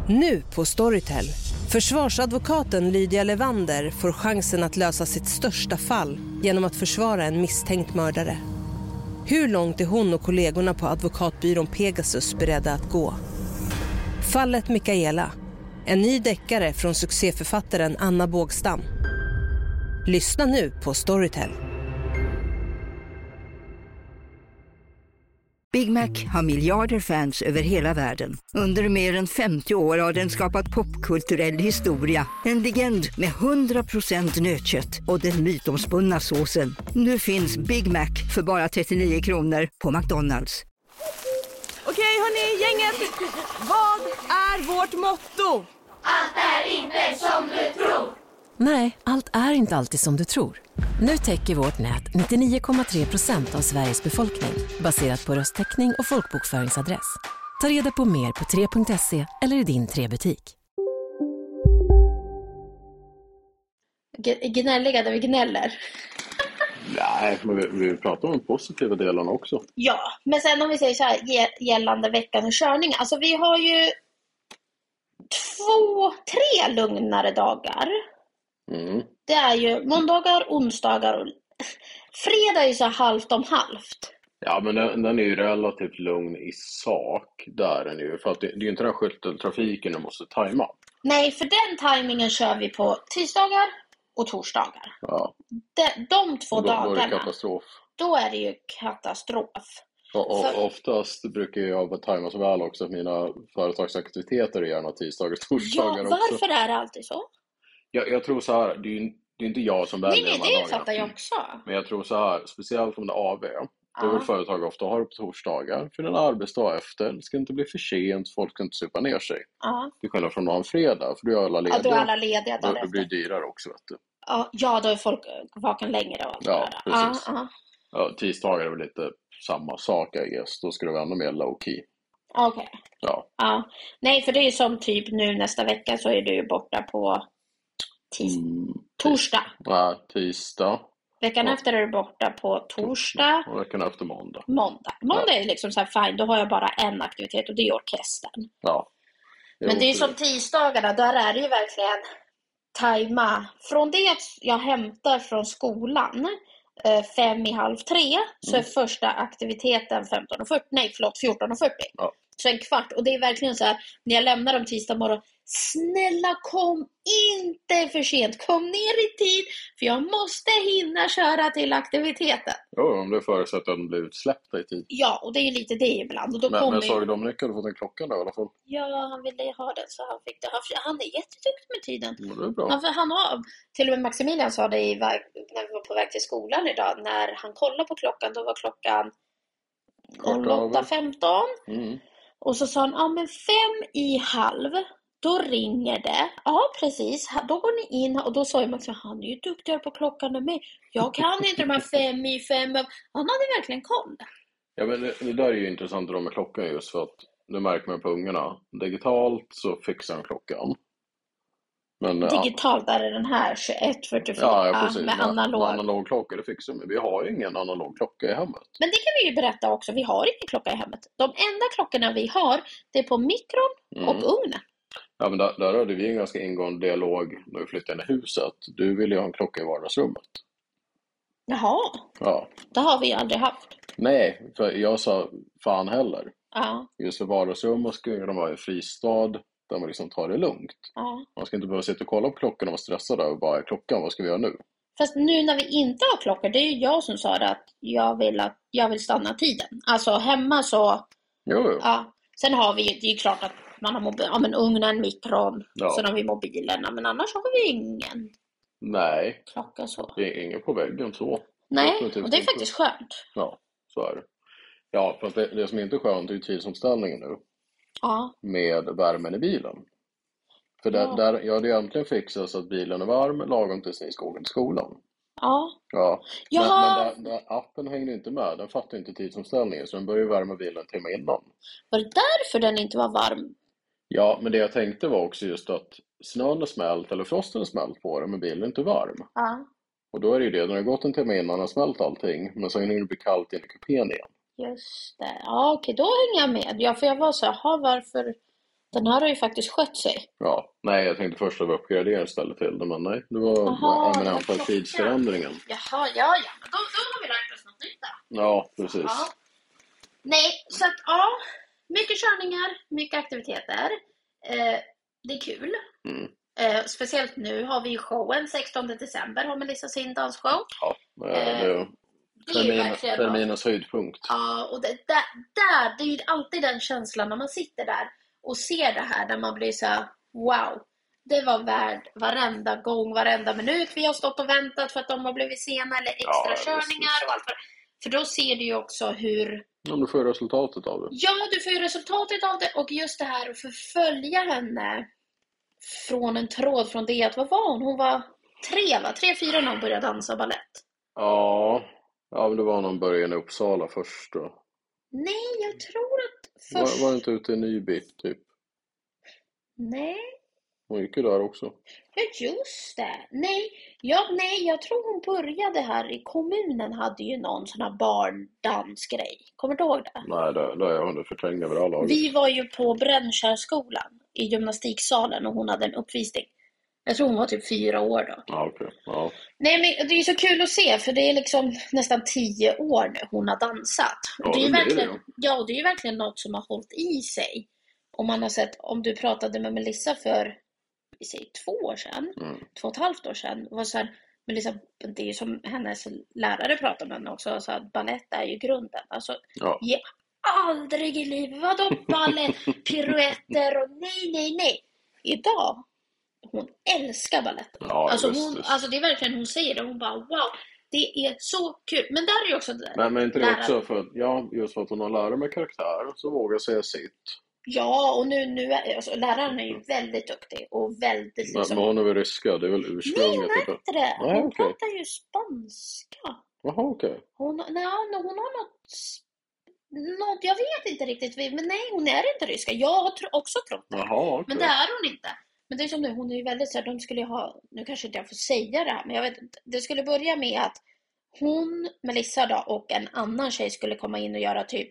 [SPEAKER 4] Nu på Storytel. Försvarsadvokaten Lydia Levander får chansen att lösa sitt största fall genom att försvara en misstänkt mördare. Hur långt är hon och kollegorna på advokatbyrån Pegasus beredda att gå? Fallet Mikaela. En ny deckare från succéförfattaren Anna Bågstam. Lyssna nu på Storytel.
[SPEAKER 5] Big Mac har miljarder fans över hela världen. Under mer än 50 år har den skapat popkulturell historia. En legend med 100% nötkött och den mytomspunna såsen. Nu finns Big Mac för bara 39 kronor på McDonalds.
[SPEAKER 6] Okej hörni, gänget. Vad är vårt motto?
[SPEAKER 7] Nej, allt är inte alltid som du tror. Nu täcker vårt nät 99,3 procent av Sveriges befolkning baserat på röstteckning och folkbokföringsadress. Ta reda på mer på 3.se eller i din 3-butik.
[SPEAKER 3] G- Gnälliga där vi gnäller.
[SPEAKER 2] Nej, men vi, vi pratar om de positiva delarna också.
[SPEAKER 3] Ja, men sen om vi säger så här ge- gällande veckan och körning. Alltså vi har ju två, tre lugnare dagar.
[SPEAKER 2] Mm.
[SPEAKER 3] Det är ju måndagar, onsdagar och fredag är ju så här halvt om halvt.
[SPEAKER 2] Ja, men den, den är ju relativt lugn i sak. Där är den ju. För att det, det är ju inte den här skytteltrafiken du måste tajma.
[SPEAKER 3] Nej, för den tajmingen kör vi på tisdagar och torsdagar.
[SPEAKER 2] Ja,
[SPEAKER 3] De, de två
[SPEAKER 2] och då, då är det
[SPEAKER 3] dagarna,
[SPEAKER 2] katastrof.
[SPEAKER 3] då är det ju katastrof.
[SPEAKER 2] Och,
[SPEAKER 3] För-
[SPEAKER 2] och oftast brukar jag tajma så väl också att mina företagsaktiviteter är gärna tisdagar och
[SPEAKER 3] Ja,
[SPEAKER 2] torsdagar också.
[SPEAKER 3] varför är det alltid så?
[SPEAKER 2] Jag, jag tror så här, det är, ju- det är inte jag som
[SPEAKER 3] Nej,
[SPEAKER 2] väljer
[SPEAKER 3] nej,
[SPEAKER 2] de här
[SPEAKER 3] det fattar jag också.
[SPEAKER 2] Men jag tror så här, speciellt om det är AV, då
[SPEAKER 3] Ja.
[SPEAKER 2] vill företag ofta ha det på torsdagar, för det är en arbetsdag efter, det ska inte bli för sent, folk ska inte supa ner sig.
[SPEAKER 3] Ja,
[SPEAKER 2] Till skillnad från att ha en fredag, för då är alla
[SPEAKER 3] ja
[SPEAKER 2] lediga.
[SPEAKER 3] då är alla lediga
[SPEAKER 2] Då- då
[SPEAKER 3] dagen
[SPEAKER 2] blir
[SPEAKER 3] efter.
[SPEAKER 2] det dyrare också. Vet du.
[SPEAKER 3] Ja, Ja, då är folk eh, vaken längre och allt
[SPEAKER 2] Ja,
[SPEAKER 3] det där.
[SPEAKER 2] precis.
[SPEAKER 3] Ja,
[SPEAKER 2] Ja, tisdagar är väl lite samma sak, I guess. Då ska det vara ännu mer low key.
[SPEAKER 3] ja. Okej.
[SPEAKER 2] Ja,
[SPEAKER 3] Ja. Nej, för det är ju som typ nu nästa vecka så är du ju borta på tis-
[SPEAKER 2] mm,
[SPEAKER 3] torsdag.
[SPEAKER 2] nej, tisdag
[SPEAKER 3] Veckan
[SPEAKER 2] Ja.
[SPEAKER 3] efter är du borta på torsdag.
[SPEAKER 2] och veckan efter måndag.
[SPEAKER 3] Måndag. Måndag är liksom så här fine, då har jag bara en aktivitet och det är orkestern.
[SPEAKER 2] Ja.
[SPEAKER 3] Men det är ju som
[SPEAKER 2] precis.
[SPEAKER 3] tisdagarna, där är det ju verkligen tajma. Från det att jag hämtar från skolan eh, fem i halv tre så
[SPEAKER 2] Mm.
[SPEAKER 3] är första aktiviteten 15.40, nej förlåt 14.40.
[SPEAKER 2] Ja.
[SPEAKER 3] Så en kvart och det är verkligen så här när jag lämnar dem tisdag morgon. Snälla kom inte för sent, kom ner i tid för jag måste hinna köra till aktiviteten.
[SPEAKER 2] Jo, om det förutsätter att de blir utsläppta i tid.
[SPEAKER 3] Ja, och det är ju lite det ibland. Och då
[SPEAKER 2] Men,
[SPEAKER 3] kommer
[SPEAKER 2] men
[SPEAKER 3] ju-
[SPEAKER 2] sorry, Dominik hade fått en klocka nu i alla fall.
[SPEAKER 3] Ja, han ville ha den så han fick det. Han, han är jätteduktig med tiden.
[SPEAKER 2] Ja, Det är bra.
[SPEAKER 3] Ja, för han har, till och med Maximilian sa det i väg, när vi var på väg till skolan idag, när han kollade på klockan, då var klockan
[SPEAKER 2] Kvart över.
[SPEAKER 3] 08.15
[SPEAKER 2] Mm.
[SPEAKER 3] och så sa han, ja men fem i halv, då ringer det. Ja precis, Ha- då går ni in och då sa ju Max, han är ju duktigare på klockan än mig. Jag kan inte de här fem i fem över." Han hade verkligen koll.
[SPEAKER 2] Ja, men det, det där är ju intressant det där med klockan just för att nu märker man på ungarna. Digitalt så fixar de klockan. Men, eh,
[SPEAKER 3] Digitalt är det den här 21.44
[SPEAKER 2] Ja, ja, precis.
[SPEAKER 3] med
[SPEAKER 2] Men-
[SPEAKER 3] analog.
[SPEAKER 2] Med analog klocka, det fixar de. Vi har ju ingen analog klocka i hemmet.
[SPEAKER 3] Men det kan vi ju berätta också, vi har ingen klocka i hemmet. De enda klockorna vi har, det är på mikron
[SPEAKER 2] Mm.
[SPEAKER 3] och ugnen.
[SPEAKER 2] Ja, men där, där hade vi en ganska ingående dialog när vi flyttade in i huset. Du ville ju ha en klocka i vardagsrummet.
[SPEAKER 3] Jaha,
[SPEAKER 2] Ja.
[SPEAKER 3] det har vi aldrig haft.
[SPEAKER 2] Nej, för jag sa fan heller.
[SPEAKER 3] Ja,
[SPEAKER 2] Just för vardagsrummet skulle de vara i fristad där man liksom tar det lugnt.
[SPEAKER 3] ja.
[SPEAKER 2] Man ska inte behöva sitta och kolla på klockan och vara stressad över vad är klockan, vad ska vi göra nu?
[SPEAKER 3] Fast nu när vi inte har klockor, det är ju jag som sa det att jag vill, att, jag vill stanna tiden. Alltså hemma så,
[SPEAKER 2] Jo, jo.
[SPEAKER 3] ja. Sen har vi ju, det är ju klart att man har mobil, ja men ugnen, mikron,
[SPEAKER 2] Ja.
[SPEAKER 3] sen har vi mobilerna, men annars har vi ju ingen
[SPEAKER 2] Nej,
[SPEAKER 3] klocka så.
[SPEAKER 2] Det är ingen på väggen så.
[SPEAKER 3] Nej,
[SPEAKER 2] definitivt
[SPEAKER 3] och det är
[SPEAKER 2] inte.
[SPEAKER 3] faktiskt skönt.
[SPEAKER 2] Ja, så är det. Ja, fast det, det som inte är skönt är ju tidsomställningen nu
[SPEAKER 3] Ja,
[SPEAKER 2] med värmen i bilen. För där,
[SPEAKER 3] Ja.
[SPEAKER 2] där, jag hade ju äntligen fixat så att bilen är varm lagom tills ni ska åka till skolan.
[SPEAKER 3] ja.
[SPEAKER 2] Ja, men,
[SPEAKER 3] Jaha.
[SPEAKER 2] men där, där, appen hängde inte med. Den fattar inte tidsomställningen så den börjar ju värma bilen en timme innan.
[SPEAKER 3] Var det därför den inte var varm?
[SPEAKER 2] Ja, men det jag tänkte var också just att snön har smält eller frosten har smält på den men bilen är inte varm.
[SPEAKER 3] Ja,
[SPEAKER 2] Och då är det ju det, när det har gått en timme innan har smält allting men så hinner det bli kallt in i kupén igen.
[SPEAKER 3] just det. Ja, okej, då hänger jag med. Ja, för jag var så här, "Jaha, varför? Den här har ju faktiskt skött sig.
[SPEAKER 2] Ja, nej jag tänkte först att vi uppgraderar istället till det, men nej. Det var
[SPEAKER 3] Jaha,
[SPEAKER 2] ja, men
[SPEAKER 3] det var
[SPEAKER 2] antal
[SPEAKER 3] klockan.
[SPEAKER 2] tidsförändringen.
[SPEAKER 3] Jaha, ja, ja. Men då, då har vi lärt oss något nytt där.
[SPEAKER 2] Ja, precis.
[SPEAKER 3] Ja. Nej, så att ja. Mycket körningar, mycket aktiviteter. Eh, det är kul.
[SPEAKER 2] Mm.
[SPEAKER 3] Eh, speciellt nu har vi ju showen 16 december har Melissa sin dansshow.
[SPEAKER 2] Ja, eh, det är
[SPEAKER 3] Det är ju
[SPEAKER 2] termin,
[SPEAKER 3] verkligen något.
[SPEAKER 2] terminens höjdpunkt.
[SPEAKER 3] Ja, och det, där, där, det är ju alltid den känslan när man sitter där och ser det här, där man blir så här, wow. Det var värd varenda gång, varenda minut vi har stått och väntat för att de har blivit sena eller
[SPEAKER 2] Ja,
[SPEAKER 3] extra körningar
[SPEAKER 2] precis.
[SPEAKER 3] och allt vad För då ser du ju också hur,
[SPEAKER 2] Om du får resultatet av det.
[SPEAKER 3] ja du får ju resultatet av det och just det här att förfölja henne från en tråd från det att, vad var hon? Hon var tre va? Tre, fyra när hon började dansa ballett.
[SPEAKER 2] Ja, ja men det var någon början i Uppsala först då.
[SPEAKER 3] Nej, jag tror att först...
[SPEAKER 2] Var, var det inte ute i Nyby, typ?
[SPEAKER 3] Nej.
[SPEAKER 2] Hon gick ju där också.
[SPEAKER 3] Ja, just det. Nej, ja, nej, jag tror hon började här i kommunen hade ju någon sån här barndansgrej. Kommer du ihåg det?
[SPEAKER 2] Nej, där, där är jag under förträngd över alla lager.
[SPEAKER 3] Vi var ju på Brännkärrskolan i gymnastiksalen och hon hade en uppvisning. Jag tror hon var typ fyra år då.
[SPEAKER 2] Ja, okej. Ja.
[SPEAKER 3] Nej, men det är ju så kul att se för det är liksom nästan tio år nu hon har dansat.
[SPEAKER 2] Ja,
[SPEAKER 3] Och det är ju
[SPEAKER 2] det blir det
[SPEAKER 3] verkligen,
[SPEAKER 2] ju.
[SPEAKER 3] ja, och det är ju verkligen något som har hållit i sig. Om man har sett, om du pratade med Melissa för vi säger två år sedan,
[SPEAKER 2] Mm.
[SPEAKER 3] två och ett halvt år sedan, var så här, Melissa, det är ju som hennes lärare pratade med henne också, så att ballett är ju grunden. Alltså,
[SPEAKER 2] Ja.
[SPEAKER 3] ge aldrig i livet, vadå ballett, piruetter och nej, nej, nej. Idag, hon älskar ballett.
[SPEAKER 2] Ja,
[SPEAKER 3] alltså,
[SPEAKER 2] visst,
[SPEAKER 3] hon,
[SPEAKER 2] visst.
[SPEAKER 3] alltså det är verkligen, hon säger det, hon bara wow, det är så kul. Men där är ju också det där.
[SPEAKER 2] Men, men inte det
[SPEAKER 3] läraren-
[SPEAKER 2] också för att, ja, just för att hon har lärare med karaktär så vågar säga sitt.
[SPEAKER 3] Ja, och nu, nu är, alltså, läraren är ju väldigt duktig och väldigt
[SPEAKER 2] Men,
[SPEAKER 3] liksom...
[SPEAKER 2] men hon är väl ryska? Det är väl
[SPEAKER 3] Nej, hon
[SPEAKER 2] ursprunget? typ.
[SPEAKER 3] är
[SPEAKER 2] utav-
[SPEAKER 3] inte det. Hon
[SPEAKER 2] Nej, okej.
[SPEAKER 3] pratar ju spanska.
[SPEAKER 2] Jaha, okej.
[SPEAKER 3] Hon, nej, hon, hon har något, s- något... Jag vet inte riktigt. Men nej, hon är inte ryska. Jag har tro, också trott det.
[SPEAKER 2] Jaha, okej.
[SPEAKER 3] Men det är hon inte. Men det är som nu, hon är ju väldigt så här, de skulle ju ha, nu kanske inte jag får säga det här, men jag vet inte. Det skulle börja med att hon, Melissa då, och en annan tjej skulle komma in och göra typ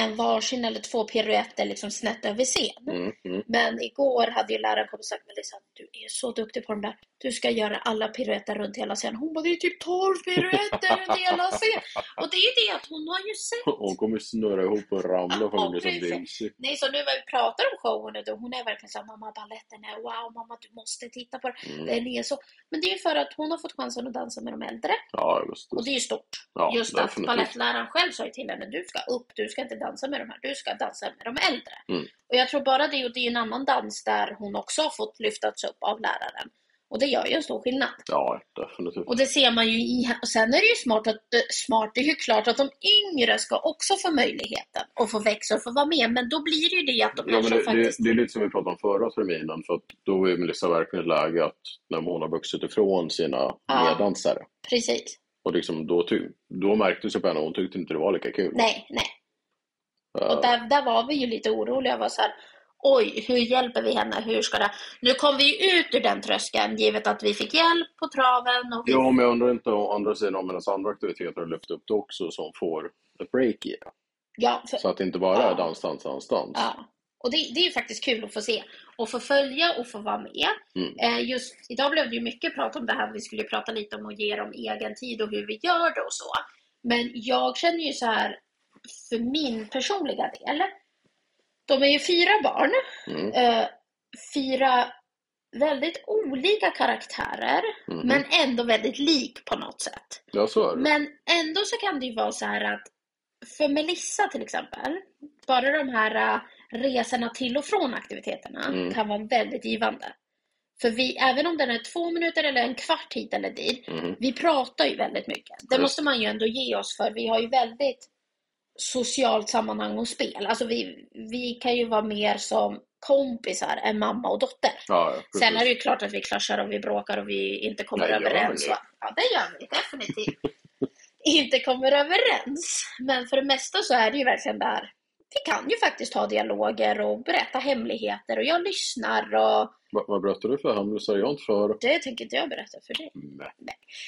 [SPEAKER 3] en varsin eller två piruetter liksom snett över scen.
[SPEAKER 2] Mm, mm.
[SPEAKER 3] Men igår hade ju läraren kommit och sagt Melissa, du är så duktig på de där. Du ska göra alla piruetter runt hela scenen. Hon bara, det är typ 12 piruetter runt hela scenen. Och det är ju det att hon har ju sett.
[SPEAKER 2] Hon kommer snurra ihop och ramla för
[SPEAKER 3] Ja,
[SPEAKER 2] hon blir så
[SPEAKER 3] precis.
[SPEAKER 2] vimsig.
[SPEAKER 3] Nej, så nu när vi pratar om showen och då, hon är verkligen såhär, mamma baletten är wow, mamma du måste titta på den.
[SPEAKER 2] Mm.
[SPEAKER 3] Den är så. Men det är ju för att hon har fått chansen att dansa med de äldre
[SPEAKER 2] Ja, just
[SPEAKER 3] och
[SPEAKER 2] det.
[SPEAKER 3] det är ju stort.
[SPEAKER 2] Ja,
[SPEAKER 3] Just att
[SPEAKER 2] definitivt.
[SPEAKER 3] balettläraren själv sa ju till henne, du ska upp, du ska inte dansa med de här, du ska dansa med de äldre.
[SPEAKER 2] Mm.
[SPEAKER 3] Och jag tror bara det, och det är ju en annan dans där hon också har fått lyftas upp av läraren. Och det gör ju en stor skillnad.
[SPEAKER 2] Ja, definitivt.
[SPEAKER 3] Och det ser man ju i, och sen är det ju smart att, eh, smart, det är ju klart att de yngre ska också få möjligheten och få växa och få vara med. Men då blir det ju det att de
[SPEAKER 2] Ja, men
[SPEAKER 3] kanske
[SPEAKER 2] det,
[SPEAKER 3] faktiskt...
[SPEAKER 2] det, det är lite som vi pratade om förra terminen, för att då är Melissa verkligen i läge att när hon har vuxit ifrån sina
[SPEAKER 3] Ja.
[SPEAKER 2] meddansare,
[SPEAKER 3] Precis.
[SPEAKER 2] och liksom då, ty, då märktes det på henne, hon tyckte inte det var lika kul.
[SPEAKER 3] Nej, nej.
[SPEAKER 2] Eh,
[SPEAKER 3] Och där, där var vi ju lite oroliga. Jag var så här, Oj, hur hjälper vi henne? Hur ska det... Nu kom vi ju ut ur den tröskeln, givet att vi fick hjälp på traven. Och vi...
[SPEAKER 2] Ja, men jag undrar inte å andra sidan om hennes andra aktiviteter har lyft upp det också, så hon får ett break i det.
[SPEAKER 3] ja, för...
[SPEAKER 2] Så att det inte bara
[SPEAKER 3] Ja.
[SPEAKER 2] är dans, dans, dans, dans.
[SPEAKER 3] Ja. Och det, det är ju faktiskt kul att få se och få följa och få vara med.
[SPEAKER 2] Mm.
[SPEAKER 3] Eh, just idag blev det ju mycket prat om det här. Vi skulle ju prata lite om att ge dem egen tid och hur vi gör det och så. Men jag känner ju så här för min personliga del. De är ju fyra barn.
[SPEAKER 2] Mm.
[SPEAKER 3] Eh, fyra väldigt olika karaktärer
[SPEAKER 2] Mhm.
[SPEAKER 3] men ändå väldigt lik på något sätt.
[SPEAKER 2] Ja, så är det.
[SPEAKER 3] Men ändå så kan det ju vara så här att för Melissa till exempel, bara de här äh, resorna till och från aktiviteterna
[SPEAKER 2] Mm.
[SPEAKER 3] kan vara väldigt givande. För vi, även om den är två minuter eller en kvart hit eller dit,
[SPEAKER 2] Mm.
[SPEAKER 3] vi pratar ju väldigt mycket. Det
[SPEAKER 2] Just.
[SPEAKER 3] måste man ju ändå ge oss för vi har ju väldigt socialt sammanhang och spel. Alltså vi, vi kan ju vara mer som kompisar än mamma och dotter.
[SPEAKER 2] Ja, ja, precis.
[SPEAKER 3] Sen är det ju klart att vi klaschar och vi bråkar och vi inte kommer
[SPEAKER 2] Nej, gör
[SPEAKER 3] överens.
[SPEAKER 2] ni?
[SPEAKER 3] va? Ja, det gör vi definitivt. inte kommer överens. Men för det mesta så är det ju verkligen där. Vi kan ju faktiskt ha dialoger och berätta hemligheter och jag lyssnar och
[SPEAKER 2] Va, vad berättar du för hemlisar? Jag är inte för...
[SPEAKER 3] det tänker inte jag berätta för dig.
[SPEAKER 2] Nej.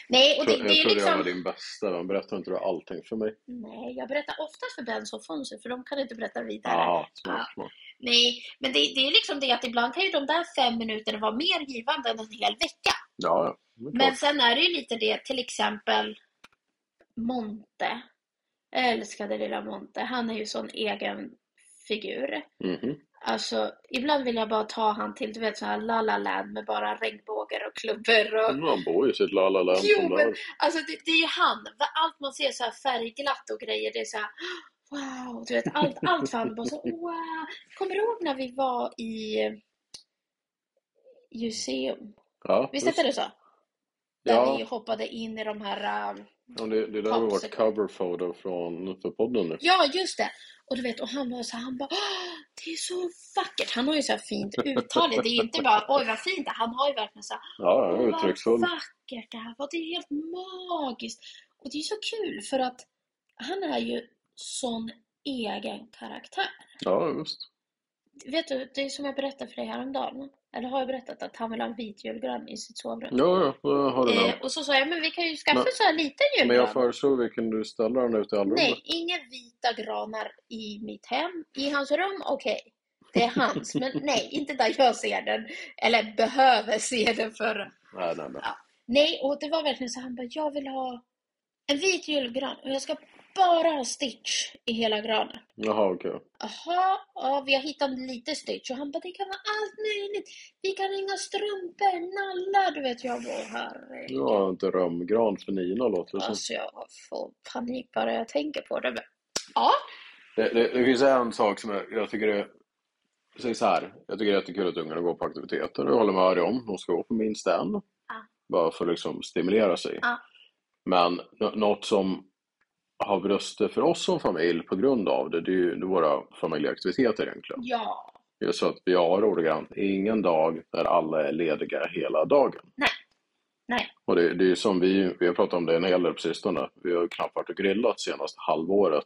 [SPEAKER 3] Nej, och
[SPEAKER 2] Jag
[SPEAKER 3] det,
[SPEAKER 2] trodde
[SPEAKER 3] det är
[SPEAKER 2] jag, liksom... jag var
[SPEAKER 3] liksom...
[SPEAKER 2] din bästa vän. Berättar inte du allting för mig?
[SPEAKER 3] Nej, jag berättar oftast för Benz och Fonzie för de kan inte berätta vidare.
[SPEAKER 2] Jaha,
[SPEAKER 3] Ja.
[SPEAKER 2] smart, smart.
[SPEAKER 3] Nej, men det, det är liksom det att ibland kan ju de där fem minuterna vara mer givande än en hel vecka.
[SPEAKER 2] Ja, ja. Det är
[SPEAKER 3] Men
[SPEAKER 2] klart.
[SPEAKER 3] sen är det ju lite det, till exempel Monte. Jag älskade lilla Monte. Han är ju sån egen figur.
[SPEAKER 2] Mhm.
[SPEAKER 3] Alltså, ibland vill jag bara ta han till, du vet, så här La La Land med bara regnbågar och klubbor och...
[SPEAKER 2] Men Han bor ju i sitt la la land
[SPEAKER 3] Jo,
[SPEAKER 2] som
[SPEAKER 3] men
[SPEAKER 2] där.
[SPEAKER 3] alltså det, det är ju han. Va- Allt man ser så här färgglatt och grejer, det är så här wow, du vet allt, allt för han bara så wow. Kommer du ihåg när vi var i Museum?
[SPEAKER 2] Ja,
[SPEAKER 3] Visst
[SPEAKER 2] visst.
[SPEAKER 3] hette det så? Där
[SPEAKER 2] Ja.
[SPEAKER 3] vi hoppade in i de här um,
[SPEAKER 2] Ja, det, det där var vårt
[SPEAKER 3] Popsicle.
[SPEAKER 2] coverfoto från för podden nu.
[SPEAKER 3] Ja, just det. Och du vet, och han var så här, han bara "Åh, det är så vackert. Han har ju så här fint uttal. Det är ju inte bara oj vad fint det är. Han har ju verkligen så här,
[SPEAKER 2] Ja, jag
[SPEAKER 3] "Åh,
[SPEAKER 2] är
[SPEAKER 3] vad
[SPEAKER 2] uttrycksfull.
[SPEAKER 3] vackert det här var. Det är helt magiskt. Och det är så kul för att han är ju sån egen karaktär.
[SPEAKER 2] Ja, just.
[SPEAKER 3] Vet du, det är som jag berättade för dig häromdagen. Eller har jag berättat att han vill ha en vit julgran i sitt sovrum?
[SPEAKER 2] Ja, ja, jag har det
[SPEAKER 3] Eh,
[SPEAKER 2] med.
[SPEAKER 3] och så sa jag, men vi kan ju skaffa
[SPEAKER 2] Men-
[SPEAKER 3] så här liten julgran.
[SPEAKER 2] Men jag föreslog vi kunde ställa den ute i allrummet.
[SPEAKER 3] Nej, inga vita granar i mitt hem. I hans rum, okej. Det är hans, men nej, inte där jag ser den. Eller behöver se den för.
[SPEAKER 2] Nej, nej, nej.
[SPEAKER 3] Nej, och det var verkligen så han bara, jag vill ha en vit julgran och jag ska bara ha Stitch i hela granen.
[SPEAKER 2] Jaha, okej.
[SPEAKER 3] Jaha, ja, vi har hittat lite Stitch. Och han bara, det kan vara allt möjligt. Vi kan ringa strumpor, nallar. Du vet, jag bara, herregud.
[SPEAKER 2] Det var en drömgran för Nina låter det som.
[SPEAKER 3] Alltså jag får panik bara jag tänker på det. Men, ja,
[SPEAKER 2] Det, det, det finns en sak som jag, jag tycker är... Säg så här, jag tycker det är jättekul att ungarna går på aktiviteter. Jag håller med Ari om. De ska gå på minst en. Bara för att liksom stimulera sig.
[SPEAKER 3] Ja.
[SPEAKER 2] Men nå- något som har bröstet för oss som familj på grund av det, det är ju våra familjeaktiviteter egentligen.
[SPEAKER 3] ja,
[SPEAKER 2] Det är så att vi har ordagrant ingen dag där alla är lediga hela dagen.
[SPEAKER 3] nej,
[SPEAKER 2] Och det, det är ju som vi, vi har pratat om det en hel del på sistone. Vi har ju knappt varit och grillat senaste halvåret.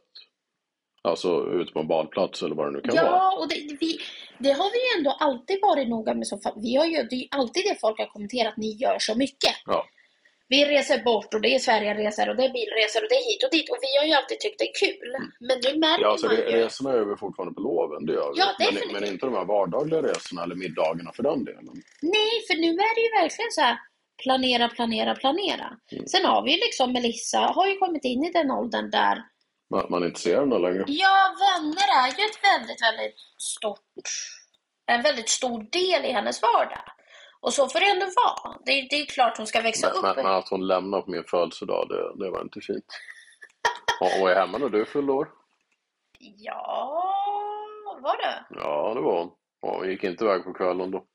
[SPEAKER 2] Alltså ute på en badplats eller vad det nu kan vara.
[SPEAKER 3] ja, och det, vi, det har vi ju ändå alltid varit noga med. Som, fa- vi har ju, det är ju alltid det folk har kommenterat, ni gör så mycket.
[SPEAKER 2] Ja.
[SPEAKER 3] Vi reser bort och det är Sverigeresor och det är bilresor och det är hit och dit. Och vi har ju alltid tyckt det är kul. Men nu märker
[SPEAKER 2] Mm. Ja, alltså
[SPEAKER 3] man ju.
[SPEAKER 2] re- resorna gör vi fortfarande på loven, det gör vi.
[SPEAKER 3] Ja, definitivt.
[SPEAKER 2] men, men inte de här vardagliga resorna eller middagarna för den delen.
[SPEAKER 3] Nej, för nu är det ju verkligen så här planera, planera, planera.
[SPEAKER 2] Mm.
[SPEAKER 3] Sen har vi ju liksom Melissa, har ju kommit in i den åldern där
[SPEAKER 2] Man, man är inte ser den längre.
[SPEAKER 3] Ja, vänner är ju ett väldigt, väldigt stort, en väldigt stor del i hennes vardag. Och så får det ändå vara. Det, det är klart hon ska växa
[SPEAKER 2] Men,
[SPEAKER 3] upp.
[SPEAKER 2] men, men att hon lämnar på min födelsedag, det, det var inte fint. Och, och är hemma när du fyllde år?
[SPEAKER 3] Ja, var det?
[SPEAKER 2] Ja, det var hon. Och hon gick inte iväg på kvällen då.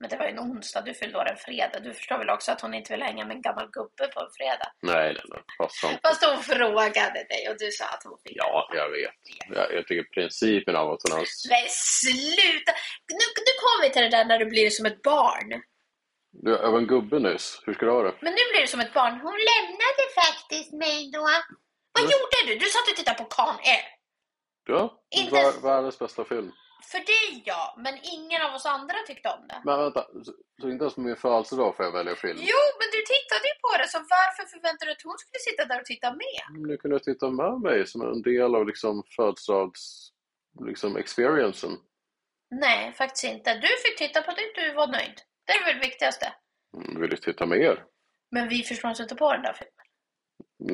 [SPEAKER 3] Men det var ju en onsdag, du fyllde år en fredag. Du förstår väl också att hon inte vill hänga med en gammal gubbe på en fredag?
[SPEAKER 2] Nej, nej, nej. Fast sant.
[SPEAKER 3] Fast hon frågade dig och du sa att hon fick.
[SPEAKER 2] Ja, jag vet. Jag, jag tycker principen av att hon har...
[SPEAKER 3] Men sluta! Nu, nu kommer vi till det där när du blir som ett barn.
[SPEAKER 2] Du, jag var en gubbe nyss. Hur ska du ha det?
[SPEAKER 3] Men nu blir du som ett barn. Hon lämnade faktiskt mig då. Vad gjorde du? Du satt och tittade på Eh, Kan Air.
[SPEAKER 2] Ja,
[SPEAKER 3] Inte-
[SPEAKER 2] vär, världens bästa film.
[SPEAKER 3] För dig ja, men ingen av oss andra tyckte om det.
[SPEAKER 2] Men vänta, så, så inte ens på min födelsedag får jag välja film?
[SPEAKER 3] Jo, men du tittade ju på det, så varför förväntade du att hon skulle sitta där och titta med?
[SPEAKER 2] Nu kunde jag titta med mig som en del av liksom födelsedags liksom experiencen.
[SPEAKER 3] Nej, faktiskt inte. Du fick titta på det, du var nöjd. Det är väl det viktigaste.
[SPEAKER 2] Mm, Vill du titta med er?
[SPEAKER 3] Men vi förstår oss inte på den där filmen.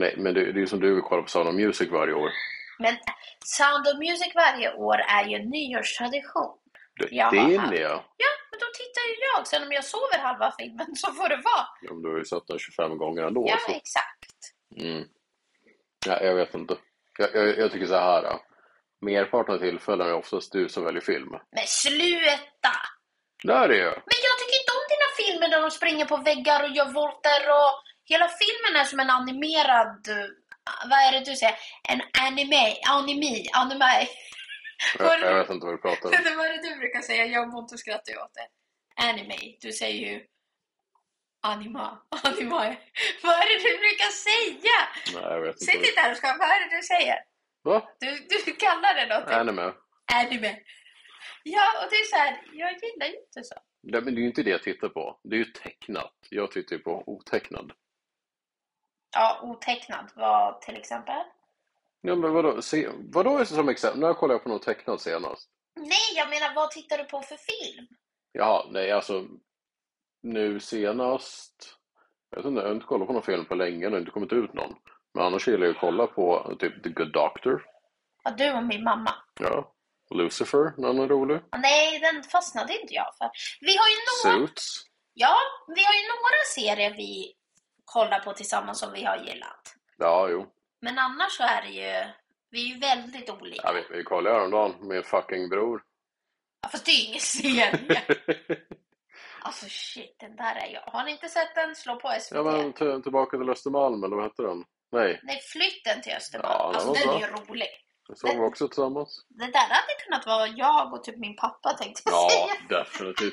[SPEAKER 2] Nej, men det, det är ju som du vill kolla på Sound of Music varje år.
[SPEAKER 3] Men eh, Sound of Music varje år är ju en nyårstradition.
[SPEAKER 2] Det,
[SPEAKER 3] Ja,
[SPEAKER 2] det är
[SPEAKER 3] aha.
[SPEAKER 2] ni ja!
[SPEAKER 3] Ja, men då tittar ju jag. Sen om jag sover halva filmen så får det vara.
[SPEAKER 2] Ja, men Du har ju sett den 25 gånger ändå.
[SPEAKER 3] Ja,
[SPEAKER 2] så-
[SPEAKER 3] exakt.
[SPEAKER 2] Mm. Ja, jag vet inte. Jag, jag, jag tycker så här. ja. Merparten av tillfällen är det oftast du som väljer film.
[SPEAKER 3] Men sluta!
[SPEAKER 2] Där är jag!
[SPEAKER 3] Men jag tycker inte om dina filmer där de springer på väggar och gör volter och... Hela filmen är som en animerad... eh, Vad är det du säger? En anime, anime, anime.
[SPEAKER 2] Jag, jag vet inte vad du pratar om.
[SPEAKER 3] Vad är det du brukar säga? Jag mår inte och skrattar ju åt det. Anime. Du säger ju... Anima. Anima. Vad är det du brukar säga?
[SPEAKER 2] Nej, jag vet inte.
[SPEAKER 3] Sitt
[SPEAKER 2] vad du-
[SPEAKER 3] inte här och skratta. Vad är det du säger?
[SPEAKER 2] Va?
[SPEAKER 3] Du, du kallar det någonting.
[SPEAKER 2] Anime?
[SPEAKER 3] Anime. Ja, och det är så här. Jag gillar ju inte så.
[SPEAKER 2] Nej, men det är ju inte det jag tittar på. Det är ju tecknat. Jag tittar ju på otecknad.
[SPEAKER 3] Ja, otecknad var till exempel.
[SPEAKER 2] Ja, men vadå, se, vadå är det som exempel? När kollade jag på något tecknat senast?
[SPEAKER 3] Nej, jag menar vad tittar du på för film?
[SPEAKER 2] Jaha, nej alltså. Nu senast. Jag vet inte, jag har inte kollat på någon film på länge. Det har inte kommit ut någon. Men annars gillar jag att kolla på typ The Good Doctor.
[SPEAKER 3] Ja, du och min mamma.
[SPEAKER 2] Ja. Lucifer, när han är rolig.
[SPEAKER 3] Ja, Nej, den fastnade inte jag för. Vi har ju några,
[SPEAKER 2] Suits.
[SPEAKER 3] ja, vi har ju några serier vi kollar på tillsammans som vi har gillat.
[SPEAKER 2] Ja, jo.
[SPEAKER 3] Men annars så är det ju, vi är ju väldigt olika.
[SPEAKER 2] Ja, vi, vi kollade häromdagen med fucking bror.
[SPEAKER 3] Ja, Fast det är ju ingen serie. alltså shit, den där är jag. Har ni inte sett den? Slå på SVT.
[SPEAKER 2] Ja, men t- tillbaka till Östermalm, eller vad hette den? Nej,
[SPEAKER 3] Nej, flytten till Östermalm.
[SPEAKER 2] Ja, den
[SPEAKER 3] alltså
[SPEAKER 2] var
[SPEAKER 3] den är
[SPEAKER 2] bra.
[SPEAKER 3] ju rolig.
[SPEAKER 2] det såg vi också tillsammans.
[SPEAKER 3] Det där hade kunnat vara jag och typ min pappa tänkte jag
[SPEAKER 2] Ja,
[SPEAKER 3] säga.
[SPEAKER 2] definitivt.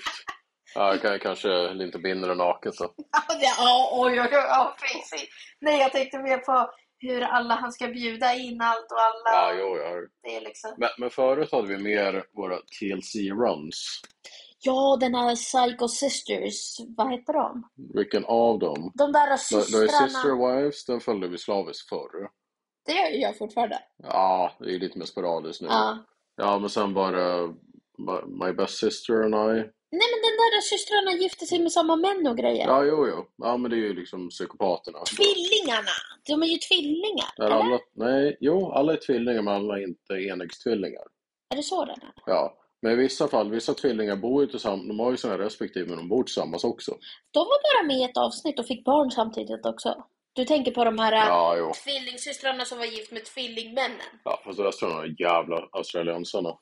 [SPEAKER 2] Ja, jag kan, kanske inte binder den naken så.
[SPEAKER 3] Ja, det- ja, oj, oj, oj, ja, precis. Nej, jag tänkte mer på hur alla han ska bjuda in allt och alla.
[SPEAKER 2] Ja, jo, jag...
[SPEAKER 3] Det är liksom...
[SPEAKER 2] men, men förut hade vi mer våra TLC-runs.
[SPEAKER 3] Ja, den här Psycho Sisters, vad heter de?
[SPEAKER 2] Vilken av dem?
[SPEAKER 3] De där
[SPEAKER 2] Då då är
[SPEAKER 3] systrarna.
[SPEAKER 2] Sister Wives, den följde vi slaviskt förr.
[SPEAKER 3] Det gör ju jag fortfarande.
[SPEAKER 2] Ja, det är lite mer sporadiskt nu.
[SPEAKER 3] Ja.
[SPEAKER 2] Ja, men sen var det My- My Best Sister and I.
[SPEAKER 3] Nej men den där systrarna gifte sig med samma män och grejer.
[SPEAKER 2] Ja, jo, jo. Ja, men det är ju liksom psykopaterna.
[SPEAKER 3] Tvillingarna! De är ju tvillingar,
[SPEAKER 2] Där
[SPEAKER 3] eller?
[SPEAKER 2] alla, nej, jo, alla är tvillingar men alla är inte enäggstvillingar.
[SPEAKER 3] Är det så den är?
[SPEAKER 2] Ja, men i vissa fall, vissa tvillingar bor ju tillsammans, de har ju sina respektive men de bor tillsammans också.
[SPEAKER 3] De var bara med i ett avsnitt och fick barn samtidigt också. Du tänker på de här äh,
[SPEAKER 2] Ja, jo.
[SPEAKER 3] tvillingsystrarna som var gift med tvillingmännen.
[SPEAKER 2] Ja, fast jag tror de är jävla australiensarna.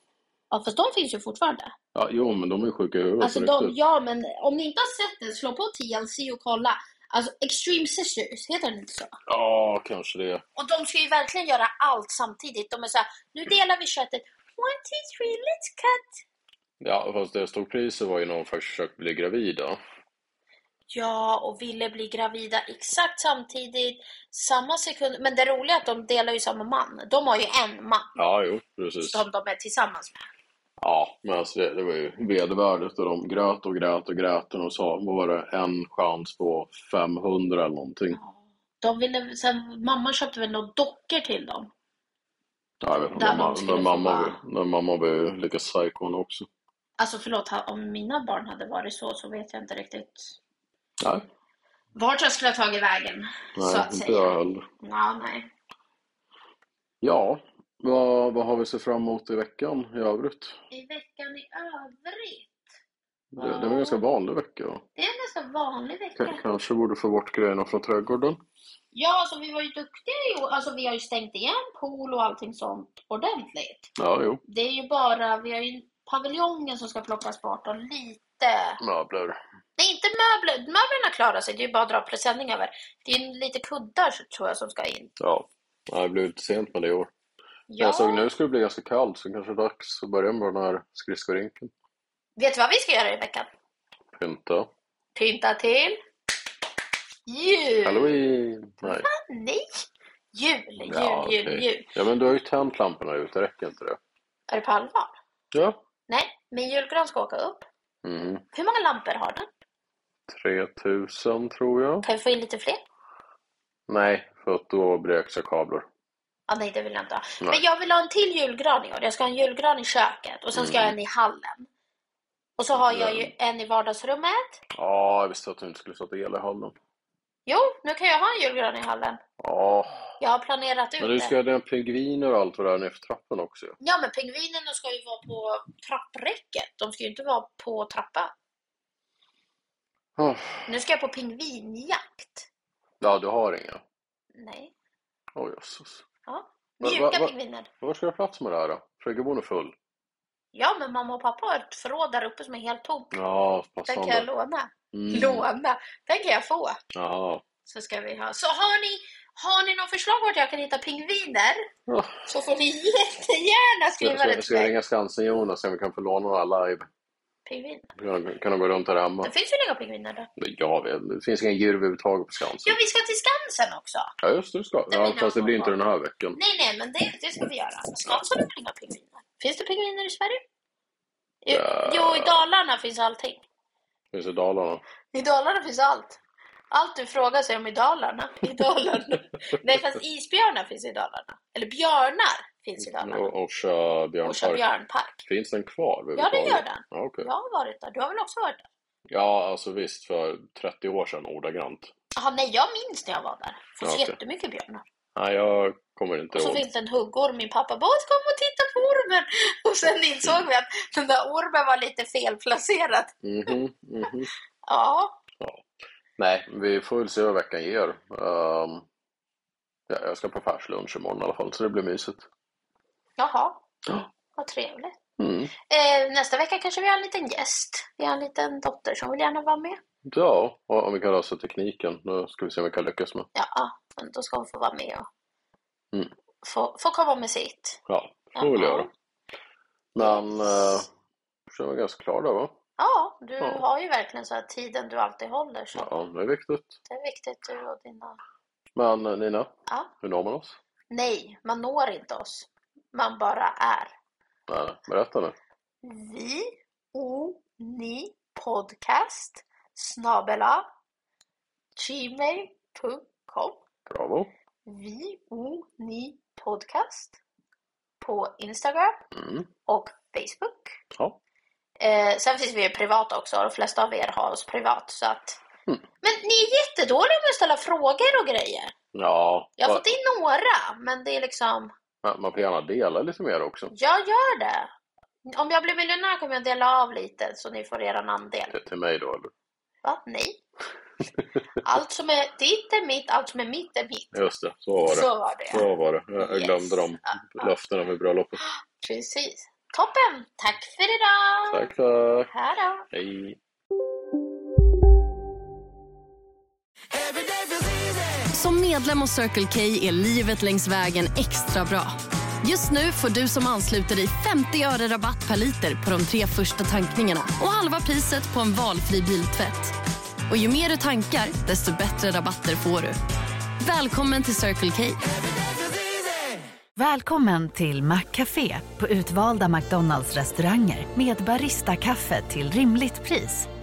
[SPEAKER 3] Ja, fast de finns ju fortfarande.
[SPEAKER 2] Ja, jo, men de är sjuka i huvudet
[SPEAKER 3] Alltså
[SPEAKER 2] på
[SPEAKER 3] de,
[SPEAKER 2] riktigt.
[SPEAKER 3] ja men om ni inte har sett den, slå på TLC och kolla. Alltså Extreme Sisters, heter den inte så?
[SPEAKER 2] Ja, kanske det.
[SPEAKER 3] Och de ska ju verkligen göra allt samtidigt. De är såhär, nu delar vi köttet. One, two, three, let's cut!
[SPEAKER 2] Ja, fast deras storpriser var ju när de faktiskt försökte bli gravida.
[SPEAKER 3] Ja, och ville bli gravida exakt samtidigt, samma sekund. Men det roliga är att de delar ju samma man. De har ju en man
[SPEAKER 2] Ja, jo, precis.
[SPEAKER 3] som de är tillsammans med.
[SPEAKER 2] Ja, men alltså det, det var ju vedervärdigt och de grät och grät och grät och de sa, vad var det, en chans på 500 eller någonting.
[SPEAKER 3] De ville, sen, mamma köpte väl några dockor till dem?
[SPEAKER 2] Ja, jag vet inte,
[SPEAKER 3] Där
[SPEAKER 2] men
[SPEAKER 3] de
[SPEAKER 2] ma-
[SPEAKER 3] skulle
[SPEAKER 2] men
[SPEAKER 3] få
[SPEAKER 2] mamma,
[SPEAKER 3] vara.
[SPEAKER 2] var ju- men mamma var ju lika psycho hon också.
[SPEAKER 3] Alltså förlåt, ha- om mina barn hade varit så så vet jag inte riktigt
[SPEAKER 2] Nej,
[SPEAKER 3] vart jag skulle ha tagit vägen. så
[SPEAKER 2] nej
[SPEAKER 3] att
[SPEAKER 2] inte
[SPEAKER 3] säga.
[SPEAKER 2] jag heller.
[SPEAKER 3] Ja, nej.
[SPEAKER 2] Ja, vad, vad har vi sett fram emot i veckan i övrigt?
[SPEAKER 3] I veckan i övrigt.
[SPEAKER 2] Det, det var en ganska vanlig vecka. va?
[SPEAKER 3] Det är en ganska vanlig
[SPEAKER 2] K-
[SPEAKER 3] vecka.
[SPEAKER 2] kanske borde få bort grejerna från trädgården.
[SPEAKER 3] Ja, alltså vi var ju duktiga i år. Alltså vi har ju stängt igen pool och allting sånt ordentligt.
[SPEAKER 2] Ja, jo.
[SPEAKER 3] Det är ju bara, vi har ju paviljongen som ska plockas bort och lite
[SPEAKER 2] Möbler.
[SPEAKER 3] Nej, inte möbler. Möblerna klarar sig. Det är ju bara att dra presenning över. Det är ju lite kuddar tror jag som ska in.
[SPEAKER 2] Ja, nej, det blev lite sent med det i år. Men
[SPEAKER 3] Ja.
[SPEAKER 2] Jag såg nu skulle det bli ganska kallt så kanske det är dags att börja med den här skridskorinken.
[SPEAKER 3] Vet du vad vi ska göra i veckan?
[SPEAKER 2] Pynta.
[SPEAKER 3] Pynta till... Jul!
[SPEAKER 2] Halloween! Nej.
[SPEAKER 3] Nej! Jul, jul,
[SPEAKER 2] Ja,
[SPEAKER 3] jul,
[SPEAKER 2] okej.
[SPEAKER 3] jul.
[SPEAKER 2] Ja, men du har ju tänt lamporna ute, räcker inte det?
[SPEAKER 3] Är det på allvar?
[SPEAKER 2] Ja.
[SPEAKER 3] Nej, min julgran ska åka upp.
[SPEAKER 2] Mm,
[SPEAKER 3] Hur många lampor har den?
[SPEAKER 2] 3000 tror jag.
[SPEAKER 3] Kan vi få in lite fler?
[SPEAKER 2] Nej, för att då bräks jag kablar.
[SPEAKER 3] Ah, nej, det vill jag inte ha.
[SPEAKER 2] Nej.
[SPEAKER 3] Men jag vill ha en till julgran i år. Jag ska ha en julgran i köket och sen ska jag ha
[SPEAKER 2] Mm.
[SPEAKER 3] en i hallen. Och så har jag ju en i vardagsrummet.
[SPEAKER 2] Ja, jag visste att du inte skulle sätta el i hallen.
[SPEAKER 3] Jo, nu kan jag ha en julgran i hallen.
[SPEAKER 2] Ja,
[SPEAKER 3] Jag har planerat ut
[SPEAKER 2] men du ska
[SPEAKER 3] det.
[SPEAKER 2] ha dina pingviner och allt vad det är nerför trappen också ju.
[SPEAKER 3] Ja, men pingvinerna ska ju vara på trappräcket. De ska ju inte vara på trappan.
[SPEAKER 2] Ah,
[SPEAKER 3] Nu ska jag på pingvinjakt.
[SPEAKER 2] Ja, du har inga.
[SPEAKER 3] Nej.
[SPEAKER 2] Åh jösses.
[SPEAKER 3] Ja.
[SPEAKER 2] Va-
[SPEAKER 3] Mjuka
[SPEAKER 2] va- va-
[SPEAKER 3] pingviner.
[SPEAKER 2] Var ska du ha plats med det här då? Friggebon är full.
[SPEAKER 3] Ja, men mamma och pappa har ett förråd där uppe som är helt tomt.
[SPEAKER 2] Ja,
[SPEAKER 3] Den kan jag
[SPEAKER 2] passande.
[SPEAKER 3] låna.
[SPEAKER 2] Mm.
[SPEAKER 3] Låna? Den kan jag få.
[SPEAKER 2] Jaha.
[SPEAKER 3] Så ska vi ha. Så har ni, har ni någon förslag vart jag kan hitta pingviner?
[SPEAKER 2] Ja.
[SPEAKER 3] Så får ni jättegärna
[SPEAKER 2] Ska,
[SPEAKER 3] skriva det
[SPEAKER 2] ska,
[SPEAKER 3] till
[SPEAKER 2] ska jag
[SPEAKER 3] mig.
[SPEAKER 2] ringa Skansen-Jonas och se om vi kan få låna några live?
[SPEAKER 3] Pingviner.
[SPEAKER 2] Kan- Kan de gå runt här hemma?
[SPEAKER 3] Det finns ju inga pingviner där.
[SPEAKER 2] Men Jag vet inte. Det finns inga djur överhuvudtaget på Skansen.
[SPEAKER 3] Ja, vi ska till Skansen också.
[SPEAKER 2] Ja, just det, du ska.
[SPEAKER 3] blir
[SPEAKER 2] Ja,
[SPEAKER 3] det
[SPEAKER 2] fast det
[SPEAKER 3] någon
[SPEAKER 2] blir inte
[SPEAKER 3] gång.
[SPEAKER 2] den här veckan.
[SPEAKER 3] Nej, nej, men det, det ska vi göra. Skansen har väl inga pingviner? Finns det pingviner i Sverige? I, Jo, i Dalarna finns allting.
[SPEAKER 2] Det finns i Dalarna.
[SPEAKER 3] I Dalarna finns allt. Allt du frågar sig om i Dalarna. I Dalarna. nej, fast isbjörnar finns i Dalarna. Eller björnar finns i Dalarna.
[SPEAKER 2] Och Orsa
[SPEAKER 3] Orsa
[SPEAKER 2] björnpark.
[SPEAKER 3] björnpark.
[SPEAKER 2] Finns den kvar
[SPEAKER 3] Ja, det
[SPEAKER 2] överhuvudtaget?
[SPEAKER 3] gör den.
[SPEAKER 2] Ja, okej.
[SPEAKER 3] Jag har varit där. Du har väl också varit där?
[SPEAKER 2] ja, alltså visst, för 30 år sedan ordagrant.
[SPEAKER 3] Jaha, nej, jag minns när jag var där. Det finns
[SPEAKER 2] Ja, okej.
[SPEAKER 3] jättemycket björnar.
[SPEAKER 2] Nej, jag kommer inte
[SPEAKER 3] Och så
[SPEAKER 2] ihåg.
[SPEAKER 3] finns det en huggorm. Min pappa bara "Åh, kom och titta på ormen. Och sen insåg vi att den där ormen var lite felplacerad.
[SPEAKER 2] Mhm, mhm.
[SPEAKER 3] Ja,
[SPEAKER 2] Nej, vi får väl se vad veckan ger. Ehm, ja, jag ska på affärslunch imorgon i alla fall, så det blir mysigt.
[SPEAKER 3] jaha.
[SPEAKER 2] Ja.
[SPEAKER 3] Vad trevligt.
[SPEAKER 2] Mm.
[SPEAKER 3] Eh, nästa vecka kanske vi har en liten gäst. Vi har en liten dotter som vill gärna vara med.
[SPEAKER 2] Ja, och om vi kan lösa tekniken. Nu ska vi se om vi kan lyckas med.
[SPEAKER 3] Ja, men då ska hon få vara med och
[SPEAKER 2] Mm.
[SPEAKER 3] få, få komma med sitt.
[SPEAKER 2] Ja, det får vi väl
[SPEAKER 3] Jaha.
[SPEAKER 2] göra. Men, eh, så är vi ganska klara där va?
[SPEAKER 3] Ja, du
[SPEAKER 2] Ja.
[SPEAKER 3] har ju verkligen så här tiden du alltid håller. Så
[SPEAKER 2] Ja, det är viktigt.
[SPEAKER 3] det är viktigt du och dina...
[SPEAKER 2] Men eh, Nina,
[SPEAKER 3] Ja.
[SPEAKER 2] hur når man oss?
[SPEAKER 3] Nej, man når inte oss. Man bara är.
[SPEAKER 2] Nej, nej, berätta nu.
[SPEAKER 3] Vi, o, ni, podcast, snabela, gmail.com.
[SPEAKER 2] Bravo.
[SPEAKER 3] Vi, o, ni, podcast på Instagram
[SPEAKER 2] Mm.
[SPEAKER 3] och Facebook.
[SPEAKER 2] Ja.
[SPEAKER 3] Eh, Eh, sen finns vi ju privata också, de flesta av er har oss privat. Så att...
[SPEAKER 2] Mm.
[SPEAKER 3] Men ni är jättedåliga med att ställa frågor och grejer.
[SPEAKER 2] Ja,
[SPEAKER 3] Jag har
[SPEAKER 2] va-
[SPEAKER 3] fått in några, men det är liksom,
[SPEAKER 2] man- man får gärna dela lite mer också.
[SPEAKER 3] jag gör det. Om jag blir miljonär kommer jag dela av lite så ni får er andel.
[SPEAKER 2] Till, till mig då, eller?
[SPEAKER 3] Va? Nej. Allt som är ditt är mitt, allt som är mitt är mitt.
[SPEAKER 2] Just det, så var det.
[SPEAKER 3] Så var det.
[SPEAKER 2] Så var det. Jag, jag
[SPEAKER 3] Yes.
[SPEAKER 2] glömde de löftena vid bröllopet.
[SPEAKER 3] Precis. Toppen! Tack för idag!
[SPEAKER 2] Tack, tack.
[SPEAKER 3] Hej då!
[SPEAKER 2] Hej.
[SPEAKER 8] Som medlem hos Circle K är livet längs vägen extra bra. Just nu får du som ansluter dig 50 öre rabatt per liter på de tre första tankningarna och halva priset på en valfri biltvätt. Och ju mer du tankar, desto bättre rabatter får du. Välkommen till Circle K.
[SPEAKER 9] Välkommen till Maccafé på utvalda McDonalds restauranger med Baristakaffe till rimligt pris.